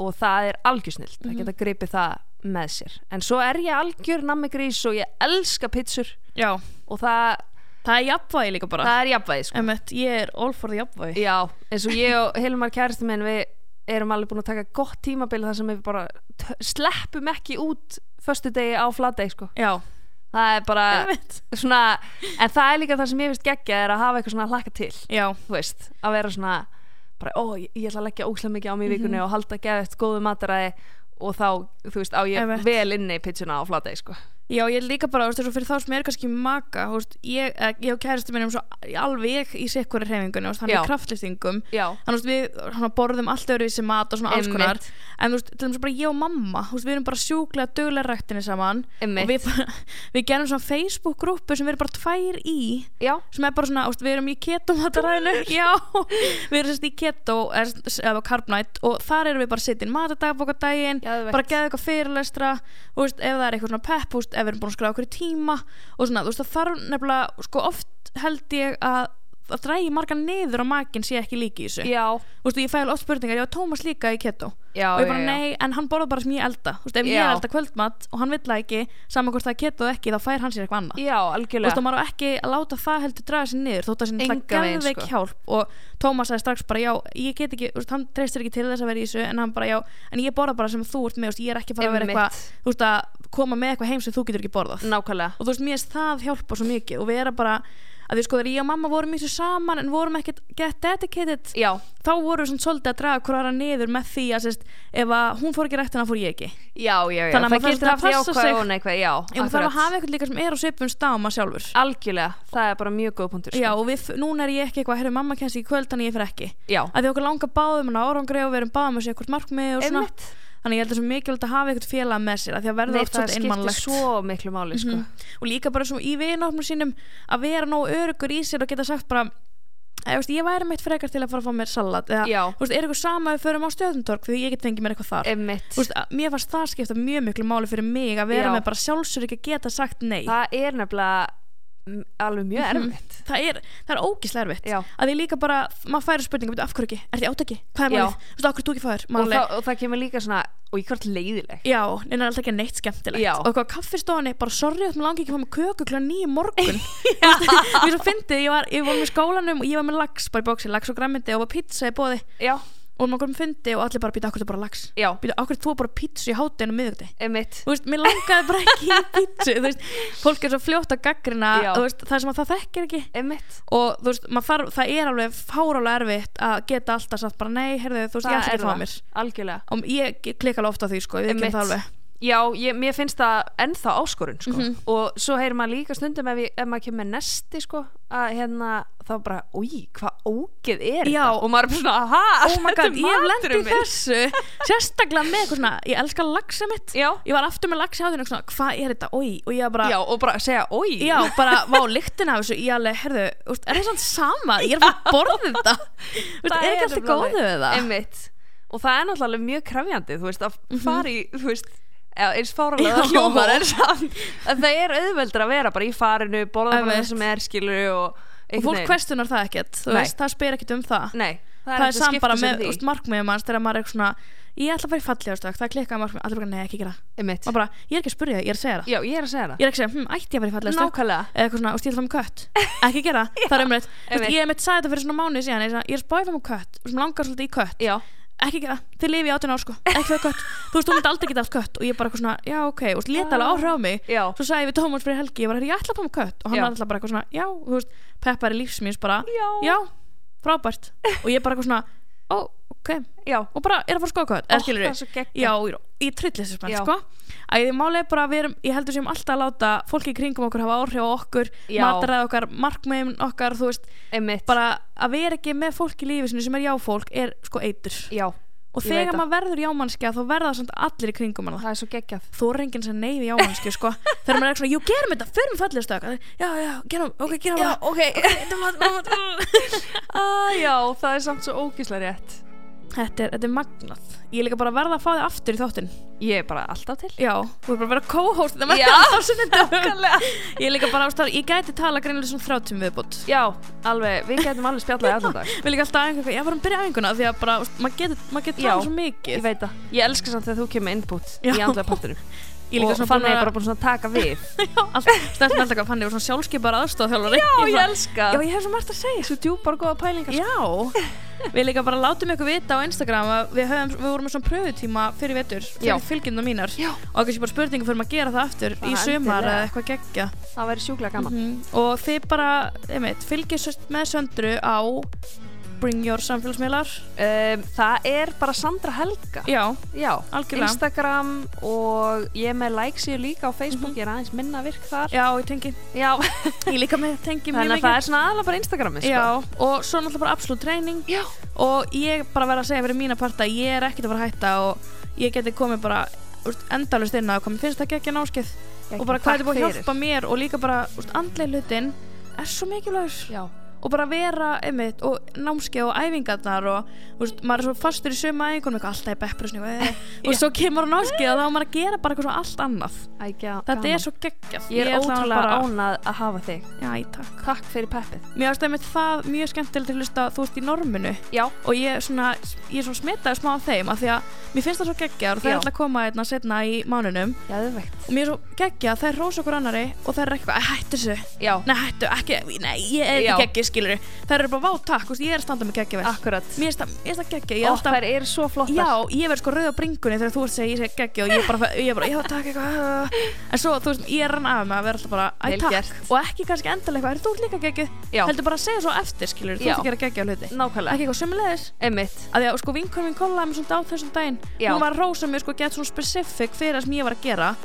[SPEAKER 2] og það er algjörsnilt mm að geta gripið það með sér en svo er ég algjör nammigrís og ég elska pitsur
[SPEAKER 1] já,
[SPEAKER 2] og það,
[SPEAKER 1] það er jafnvægi líka bara
[SPEAKER 2] það er jafnvægi sko.
[SPEAKER 1] einmitt, ég er all for the jafnvægi
[SPEAKER 2] Já, eins og ég og Hilmar kæristi minn við erum alveg búin að taka gott tímabil þar sem við bara t- sleppum ekki út förstu degi á flatdegi sko.
[SPEAKER 1] já,
[SPEAKER 2] það er bara
[SPEAKER 1] einmitt
[SPEAKER 2] svona, en það er líka það sem ég finnst geggja er að hafa eitthvað svona að hlaka til
[SPEAKER 1] já,
[SPEAKER 2] þú veist, að vera svona bara, ó, ég, ég ætla að leggja óslega mikið á mig í vikunni
[SPEAKER 1] Mhm.
[SPEAKER 2] og halda geðvægt góðu mataræði og þá, þú veist, á ég
[SPEAKER 1] Einmitt.
[SPEAKER 2] vel inni í pitsuna á flatdegi sko.
[SPEAKER 1] Já, ég er líka bara, þú veist, eins og fyrir þá sem er kannski maka, þú veist, ég, eh, ég og kæristu minn erum svo alveg í sikkuri hrefingunni, þú veist, hann
[SPEAKER 2] Já.
[SPEAKER 1] er kraftlýstingum,
[SPEAKER 2] Já,
[SPEAKER 1] þannig að við hana, borðum allt öðruvísi mat og svona alls konar
[SPEAKER 2] Einmitt.
[SPEAKER 1] en þú veist, til dæmis bara ég og mamma þú veist, við erum bara sjúklega duglega ræktinni saman
[SPEAKER 2] Einmitt.
[SPEAKER 1] og við, bara, [LAUGHS] við gerum svona Facebook grúpu sem við erum bara tvær í
[SPEAKER 2] já,
[SPEAKER 1] sem er bara svona, þú veist, við erum í keto
[SPEAKER 2] [LAUGHS]
[SPEAKER 1] mataræðinu já, við erum sérst í keto er, eða carbonite og þar erum við bara sittin matadagbóka daginn
[SPEAKER 2] Geðveikt.
[SPEAKER 1] bara geða eitthvað fyrirlestra og veist, ef það er eitthvað svona pepp, þú veist, ef við erum búin að skræða okkur í tíma og svona, þú veist, það þarf nefnilega sko oft held ég að að drægi marga niður á makin sé ekki líki í þessu
[SPEAKER 2] já,
[SPEAKER 1] Þú veist, ég fæ alveg oft spurningar, já, Tómas líka í keto
[SPEAKER 2] já,
[SPEAKER 1] og ég
[SPEAKER 2] já,
[SPEAKER 1] bara,
[SPEAKER 2] já.
[SPEAKER 1] nei, en hann borðar bara sem ég elda Þú veist, ef
[SPEAKER 2] Já.
[SPEAKER 1] ég elda kvöldmat og hann vill það ekki saman hvort það er keto eða ekki, þá fær hann sér eitthvað annað
[SPEAKER 2] já,
[SPEAKER 1] Þú
[SPEAKER 2] algjörlega
[SPEAKER 1] veist, og maður á ekki að láta það heldur draga sér niður þótt að sér
[SPEAKER 2] Engan veginn,
[SPEAKER 1] gæðveik
[SPEAKER 2] sko.
[SPEAKER 1] hjálp og Tómas sagði strax bara, já, ég get ekki þú veist, hann treystir ekki til þess að vera í þessu en hann bara, já, en ég borða bara sem þú ert með þú veist, ég er ekki að fara að vera
[SPEAKER 2] Einmitt.
[SPEAKER 1] eitthvað, þú veist, að koma með eitthvað heim sem þú getur ekki borðað
[SPEAKER 2] nákvæmlega
[SPEAKER 1] og þú veist, mér finnst það hjálpa svo mikið og við erum bara, að við sko, þegar ég og mamma vorum í þessu saman en vorum ekkert get dedicated
[SPEAKER 2] Já,
[SPEAKER 1] þá vorum við svona svolítið að draga hverjara niður með því að sérst, ef að hún fór ekki rættina fór ég ekki
[SPEAKER 2] já, já, já.
[SPEAKER 1] Þannig að
[SPEAKER 2] það
[SPEAKER 1] maður
[SPEAKER 2] getur
[SPEAKER 1] þarf
[SPEAKER 2] haft
[SPEAKER 1] svona að passa sig.
[SPEAKER 2] jákvæð og neikvæð, já,
[SPEAKER 1] en það er að hafa eitthvað líka sem er á sveipum stáma sjálfur
[SPEAKER 2] algjörlega, það er bara mjög góð punktur sko.
[SPEAKER 1] já og við, núna er ég ekki eitthvað herru mamma kennst ekki í kvöld þannig ég fer ekki
[SPEAKER 2] já,
[SPEAKER 1] að því okkur langar báðum en árangri og við erum báðum að sé eitthvað markmið og svona
[SPEAKER 2] einmitt
[SPEAKER 1] þannig ég held að það er svo mikilvægt að hafa eitthvað félag með sér að því að verða
[SPEAKER 2] Nei,
[SPEAKER 1] oft
[SPEAKER 2] það
[SPEAKER 1] svolítið
[SPEAKER 2] skiptir
[SPEAKER 1] einmanlegt
[SPEAKER 2] svo miklu máli sko.
[SPEAKER 1] og líka bara svo í vinofnum sínum að vera nógu örugur í sér og geta sagt bara eða, þú veist, ég væri meitt frekar til að fara að fá mér salat eða,
[SPEAKER 2] já,
[SPEAKER 1] þú veist, er eitthvað sama að við förum á stöðuntorg því ég get fengið mér eitthvað þar
[SPEAKER 2] einmitt
[SPEAKER 1] Þú veist, að- mér fannst það skipta mjög miklu máli fyrir mig að vera
[SPEAKER 2] Já.
[SPEAKER 1] með bara sjálfsögur ekki að geta sagt nei það,
[SPEAKER 2] það er nefnilega mm, alveg mjög erfitt
[SPEAKER 1] er, það er ógislega erfitt
[SPEAKER 2] Já.
[SPEAKER 1] að því líka bara, maður færi spurningu "Bíddu, af hverju ekki, er því átaki, hvað er
[SPEAKER 2] Já.
[SPEAKER 1] málið þú veist, af hverju ert þú ekki fæður,
[SPEAKER 2] og,
[SPEAKER 1] málið
[SPEAKER 2] það, og það kemur líka svona og ég hvert leiðileg
[SPEAKER 1] Já, neina er alltaf ekki neitt skemmtilegt
[SPEAKER 2] Já.
[SPEAKER 1] Og eitthvað á kaffistofunni, bara sorry að mér langi ekki að fá með köku klæða nýju morgun
[SPEAKER 2] [LAUGHS]
[SPEAKER 1] Mér svo fyndið, ég var, ég var með skólanum og ég var með lax bara í bóksi, lax og græmyndi og var pizza í bóði
[SPEAKER 2] já,
[SPEAKER 1] og maður komum fundi og allir bara býta okkur þú bara lax
[SPEAKER 2] já,
[SPEAKER 1] býta okkur þú bara pizza í hátinu miðugti
[SPEAKER 2] einmitt
[SPEAKER 1] Þú veist, mér langaði bara ekki í pizza Þú veist, fólk er svo fljótt að gaggrina
[SPEAKER 2] Já.
[SPEAKER 1] veist, það sem að það þekkir ekki
[SPEAKER 2] einmitt,
[SPEAKER 1] og þú veist, maður þarf, það er alveg fárálega erfitt að geta alltaf satt bara nei, heyrðu, þú veist, ég ætla ekki að fá mér
[SPEAKER 2] algjörlega
[SPEAKER 1] og ég klikka alveg ofta því, sko, við
[SPEAKER 2] Einmitt.
[SPEAKER 1] ekki það
[SPEAKER 2] [LAUGHS]
[SPEAKER 1] alveg Mhm.
[SPEAKER 2] já, ég, mér finnst það ennþá áskorun sko. og svo heyrir maður líka stundum ef, ég, ef maður kemur með nesti sko, að hérna, þá bara, új, hvað ógeð er
[SPEAKER 1] Já.
[SPEAKER 2] þetta og maður er bara svona, aha,
[SPEAKER 1] oh my
[SPEAKER 2] þetta er
[SPEAKER 1] god, ég hef
[SPEAKER 2] maturinn
[SPEAKER 1] lendið
[SPEAKER 2] minn.
[SPEAKER 1] þessu
[SPEAKER 2] [LAUGHS]
[SPEAKER 1] sérstaklega með eitthvað svona, ég elska laxa mitt
[SPEAKER 2] já,
[SPEAKER 1] ég var aftur með laxa á þínu og svona, hvað er þetta, oi og ég var bara,
[SPEAKER 2] já, og bara segja, oi
[SPEAKER 1] já, bara vá lyktin af þessu, ég alveg, herðu úst, er það svona sama, ég er að fara að borða þetta Vist, er ekki alltaf
[SPEAKER 2] nefnilega
[SPEAKER 1] góðu
[SPEAKER 2] þannig.
[SPEAKER 1] við það
[SPEAKER 2] Einmitt. og það er náttúrulega alveg mjög krefjandi þú veist, að fara í þú veist, eða eins
[SPEAKER 1] Mhm. Já.
[SPEAKER 2] fáralega
[SPEAKER 1] [LAUGHS]
[SPEAKER 2] hljómar en samt að það er auðveldur að vera bara í farinu, borða bara
[SPEAKER 1] Einmitt.
[SPEAKER 2] það sem er skilur og
[SPEAKER 1] og fólk questionar það ekkert þú
[SPEAKER 2] Nei.
[SPEAKER 1] veist, það spyr ekkert um það
[SPEAKER 2] Nei,
[SPEAKER 1] það
[SPEAKER 2] það er
[SPEAKER 1] er
[SPEAKER 2] ekki að
[SPEAKER 1] samt
[SPEAKER 2] skipta
[SPEAKER 1] bara
[SPEAKER 2] sem
[SPEAKER 1] með
[SPEAKER 2] því
[SPEAKER 1] úst, markmiðum hans þegar maður er eitthvað svona ég ætla að fara í fallegastökk, það er klikkað markmið allir bara, nei ekki gera, það."
[SPEAKER 2] Einmitt.
[SPEAKER 1] maður bara, ég er ekki að spurja það, ég er að segja það
[SPEAKER 2] Já, ég er að segja það
[SPEAKER 1] ég er ekki að segja, hm, ætti ég að fara í fallegastökk
[SPEAKER 2] Nákvæmlega
[SPEAKER 1] eða eitthvað svona, úst, ég ætla að fá mér
[SPEAKER 2] [LAUGHS]
[SPEAKER 1] kött ekki gera, það, það er umrætt
[SPEAKER 2] einmitt.
[SPEAKER 1] ég mitt sagði þetta fyrir svona mánuði síðan ég sagði, ég er að spá í að fá mér kött, sem langar svolítið í kött
[SPEAKER 2] Já,
[SPEAKER 1] ekki gera, þið lifi í átján ár sko ekki það kött, þú veist, þú myndi aldrei geta allt kött og ég bara eitthvað svona, já ok, og leta alveg áhrif á mig
[SPEAKER 2] já,
[SPEAKER 1] svo sagði ég við Tómas fyrir helgi, ég var hérna, ég ætla að fá mér kött og hann
[SPEAKER 2] Já.
[SPEAKER 1] var alltaf bara eitthvað svona, já, þú veist peppar í lífsmins bara,
[SPEAKER 2] Já.
[SPEAKER 1] já, frábært og ég bara eitthvað svona, ó, ok
[SPEAKER 2] já
[SPEAKER 1] og bara er að fara að skoða kött,
[SPEAKER 2] Ó,
[SPEAKER 1] eða skilur
[SPEAKER 2] það er svo geggjað.
[SPEAKER 1] já, ég, ég trillir þessu spenn,
[SPEAKER 2] Já.
[SPEAKER 1] sko að ég málega bara, við erum, ég heldur sem alltaf að láta fólki í kringum okkur hafa áhrif á okkur
[SPEAKER 2] Já.
[SPEAKER 1] mataræð okkar, markmiðin okkar þú veist,
[SPEAKER 2] Einmitt
[SPEAKER 1] bara að vera ekki með fólk í lífi sinu sem er jáfólk er sko eitur
[SPEAKER 2] Já,
[SPEAKER 1] og
[SPEAKER 2] Ég veit
[SPEAKER 1] þegar
[SPEAKER 2] það.
[SPEAKER 1] maður verður jámannskja þá verða samt allir í kringum hana
[SPEAKER 2] það er svo geggjað
[SPEAKER 1] þú er enginn sem neyfi jámannskja
[SPEAKER 2] [LAUGHS]
[SPEAKER 1] sko þegar maður er eitthvað svona, jú gerum þetta, förum fallið stökk já, já, gerum, ok, gerum já.
[SPEAKER 2] [LAUGHS] ok [LAUGHS] ah, Já, það er samt svo ógíslega rétt
[SPEAKER 1] þetta er, þetta er magnað ég er líka bara að verða að fá þig aftur í þáttinn
[SPEAKER 2] Ég er bara alltaf til
[SPEAKER 1] já, þú er bara að vera co-host þetta
[SPEAKER 2] [LAUGHS]
[SPEAKER 1] með
[SPEAKER 2] Já,
[SPEAKER 1] það á sunnundum [LAUGHS]
[SPEAKER 2] Nákvæmlega
[SPEAKER 1] ég er líka bara ástæður, ég gæti tala greinilega svona um þrjátum viðbútt
[SPEAKER 2] Já, alveg, við getum alveg spjallað í allan dag
[SPEAKER 1] við líka alltaf einhverja, ég var að byrja æfinguna því að bara, þú veist, maður getur mað get
[SPEAKER 2] Já,
[SPEAKER 1] talað svo
[SPEAKER 2] Ég
[SPEAKER 1] mikið
[SPEAKER 2] veit það, ég elska samt þegar þú kemur með input
[SPEAKER 1] Já.
[SPEAKER 2] í andlega partinum
[SPEAKER 1] ég er líka
[SPEAKER 2] og
[SPEAKER 1] svona
[SPEAKER 2] fann
[SPEAKER 1] búin
[SPEAKER 2] ég
[SPEAKER 1] að
[SPEAKER 2] bara
[SPEAKER 1] [LAUGHS]
[SPEAKER 2] búin svona að taka við
[SPEAKER 1] stæðst með alltaf hvað fann ég var svona sjálfskipar aðstofþjálfari
[SPEAKER 2] elska
[SPEAKER 1] já, ég hef svo margt að segja
[SPEAKER 2] Svo djúpar og góða pælingar sko.
[SPEAKER 1] Já, við líka bara látum ykkur vita á Instagram að við, höfum, við vorum með svona pröfutíma fyrir vetur,
[SPEAKER 2] Já.
[SPEAKER 1] fyrir fylgjendum mínar
[SPEAKER 2] Já.
[SPEAKER 1] og kannski bara spurningu fyrir maður að gera það aftur
[SPEAKER 2] Bara
[SPEAKER 1] í sumar
[SPEAKER 2] endilega.
[SPEAKER 1] eða eitthvað geggja
[SPEAKER 2] Það væri sjúklega gaman
[SPEAKER 1] mm, og þið bara, einmitt, fylgjist með söndru á Bring Your Samfélagsmiðlar
[SPEAKER 2] um, Það er bara Sandra Helga
[SPEAKER 1] Já,
[SPEAKER 2] Já,
[SPEAKER 1] Algjörlega.
[SPEAKER 2] Instagram og ég er með likes ég líka á Facebook Ég er aðeins minna virk þar
[SPEAKER 1] Mhm. já, ég tengi [LAUGHS]
[SPEAKER 2] Já,
[SPEAKER 1] Ég líka með tengi mjög
[SPEAKER 2] þannig að það
[SPEAKER 1] mikið
[SPEAKER 2] er svona aðalega bara Instagramið sko.
[SPEAKER 1] Já, og svo náttúrulega bara absolutt treyning
[SPEAKER 2] Já,
[SPEAKER 1] og ég bara verð að segja fyrir mína parta ég er ekkert að fara að hætta og ég geti komið bara endalust inn að komið finnst það geggja náskeið og bara hvað
[SPEAKER 2] takk
[SPEAKER 1] þetta búið að
[SPEAKER 2] fyrir.
[SPEAKER 1] hjálpa mér og líka bara úst, andlega hlutin er svo mikilvægur
[SPEAKER 2] Já,
[SPEAKER 1] og bara vera einmitt og námskeið og æfingarnar og úst, maður er svo fastur í sömu æfingunum eitthvað alltaf í beppurusni og svo kemur á námskeið og þá er maður að gera bara eitthvað svo allt annað
[SPEAKER 2] ægja
[SPEAKER 1] þetta er svo geggjað
[SPEAKER 2] Ég er
[SPEAKER 1] ætla að
[SPEAKER 2] ótrúlega
[SPEAKER 1] bara-
[SPEAKER 2] ánað að hafa þig
[SPEAKER 1] Já, í takk.
[SPEAKER 2] Takk fyrir peppið
[SPEAKER 1] Mér finnst einmitt það mjög skemmtilegt til að hlusta að þú ert í norminu
[SPEAKER 2] Já,
[SPEAKER 1] og ég, svona, ég er svona smitaði smá af þeim af því að mér finnst það svo geggjar og það
[SPEAKER 2] Já.
[SPEAKER 1] er alltaf að koma einna setna í mánunum
[SPEAKER 2] geðveikt
[SPEAKER 1] og mér er svo geggja að það er rósa okkur annari og það er eitthvað, "Æ, hættu þessu
[SPEAKER 2] Já,
[SPEAKER 1] Nei, hættu, ekki, nei, ég er
[SPEAKER 2] Já.
[SPEAKER 1] ekki geggi, skilur Það eru bara vátak, veist, ég er að standa með geggi vel
[SPEAKER 2] akkurat
[SPEAKER 1] Mér finnst það- mér finnst það geggi, ég er
[SPEAKER 2] Ó,
[SPEAKER 1] alltaf
[SPEAKER 2] Þær eru svo flottar
[SPEAKER 1] Já, ég verð sko rauð á bringunni þegar þú ert að segja ég segi geggi og ég bara, ég bara, já, takk eitthvað En svo, þú veist, ég rann af mig að vera alltaf bara, æ,
[SPEAKER 2] Vel
[SPEAKER 1] takk
[SPEAKER 2] gert.
[SPEAKER 1] Og ekki kannski endalega eitthvað, er þú ert líka geggi?
[SPEAKER 2] Já.
[SPEAKER 1] Heldur bara að segja svo eftir, skilur, þú
[SPEAKER 2] Já.
[SPEAKER 1] ert að gera geggi á hluti
[SPEAKER 2] nákvæmlega
[SPEAKER 1] Ekki eitthvað sömulegis
[SPEAKER 2] Emmitt,
[SPEAKER 1] að því að sko vinkonum minn kollaði mér svona á þessum daginn
[SPEAKER 2] Já.
[SPEAKER 1] hún var að rósa mér sko gett svona specific fyrir það sem ég var að gera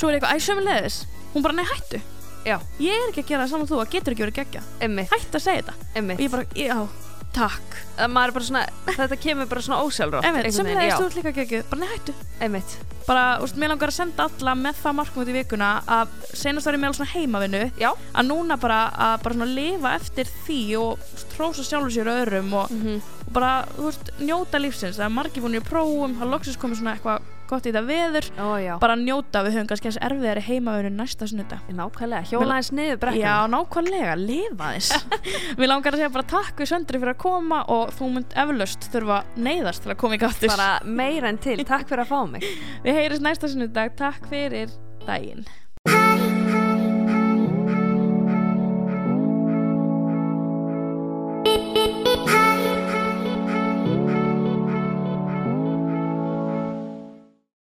[SPEAKER 1] svo er ég eitthvað, æ, sömulegis hún bara, nei, hættu,
[SPEAKER 2] já,
[SPEAKER 1] ég er ekki að gera það saman þú að getur ekki verið geggja
[SPEAKER 2] emmitt,
[SPEAKER 1] hættu að segja þetta og
[SPEAKER 2] emmitt
[SPEAKER 1] ég bara, já, takk
[SPEAKER 2] að maður er bara svona, þetta kemur bara svona ósjálfrátt
[SPEAKER 1] einmitt,
[SPEAKER 2] einhvern veginn,
[SPEAKER 1] sömulegis þú ert líka geggju, bara nei, hættu
[SPEAKER 2] já, einmitt,
[SPEAKER 1] bara, úst, mér langar að senda alla með það markum út í vikuna að senast var ég með alveg svona heimavinnu
[SPEAKER 2] já,
[SPEAKER 1] að núna bara að bara svona lifa eftir því og trósa sjálfur sér og öðrum og,
[SPEAKER 2] Mhm. Mm.
[SPEAKER 1] og bara, þú veist, njóta lífsins það er margir búin í prófum, það er loksins komið svona eitthvað gott í þetta veður
[SPEAKER 2] ó já
[SPEAKER 1] bara njóta, við höfum kannski þessi erfiðari heimavinnu næsta sunnudag
[SPEAKER 2] nákvæmlega, hjóla eins niður brekkan
[SPEAKER 1] Já, nákvæmlega, lifa þess Mér langar að segja bara takk við söndri fyrir að koma og þú mynd eflaust þurfa neyðast til að koma í gáttis
[SPEAKER 2] bara meira en til, takk fyrir að fá mig
[SPEAKER 1] Við heyrist næsta sunnudag, takk fyrir daginn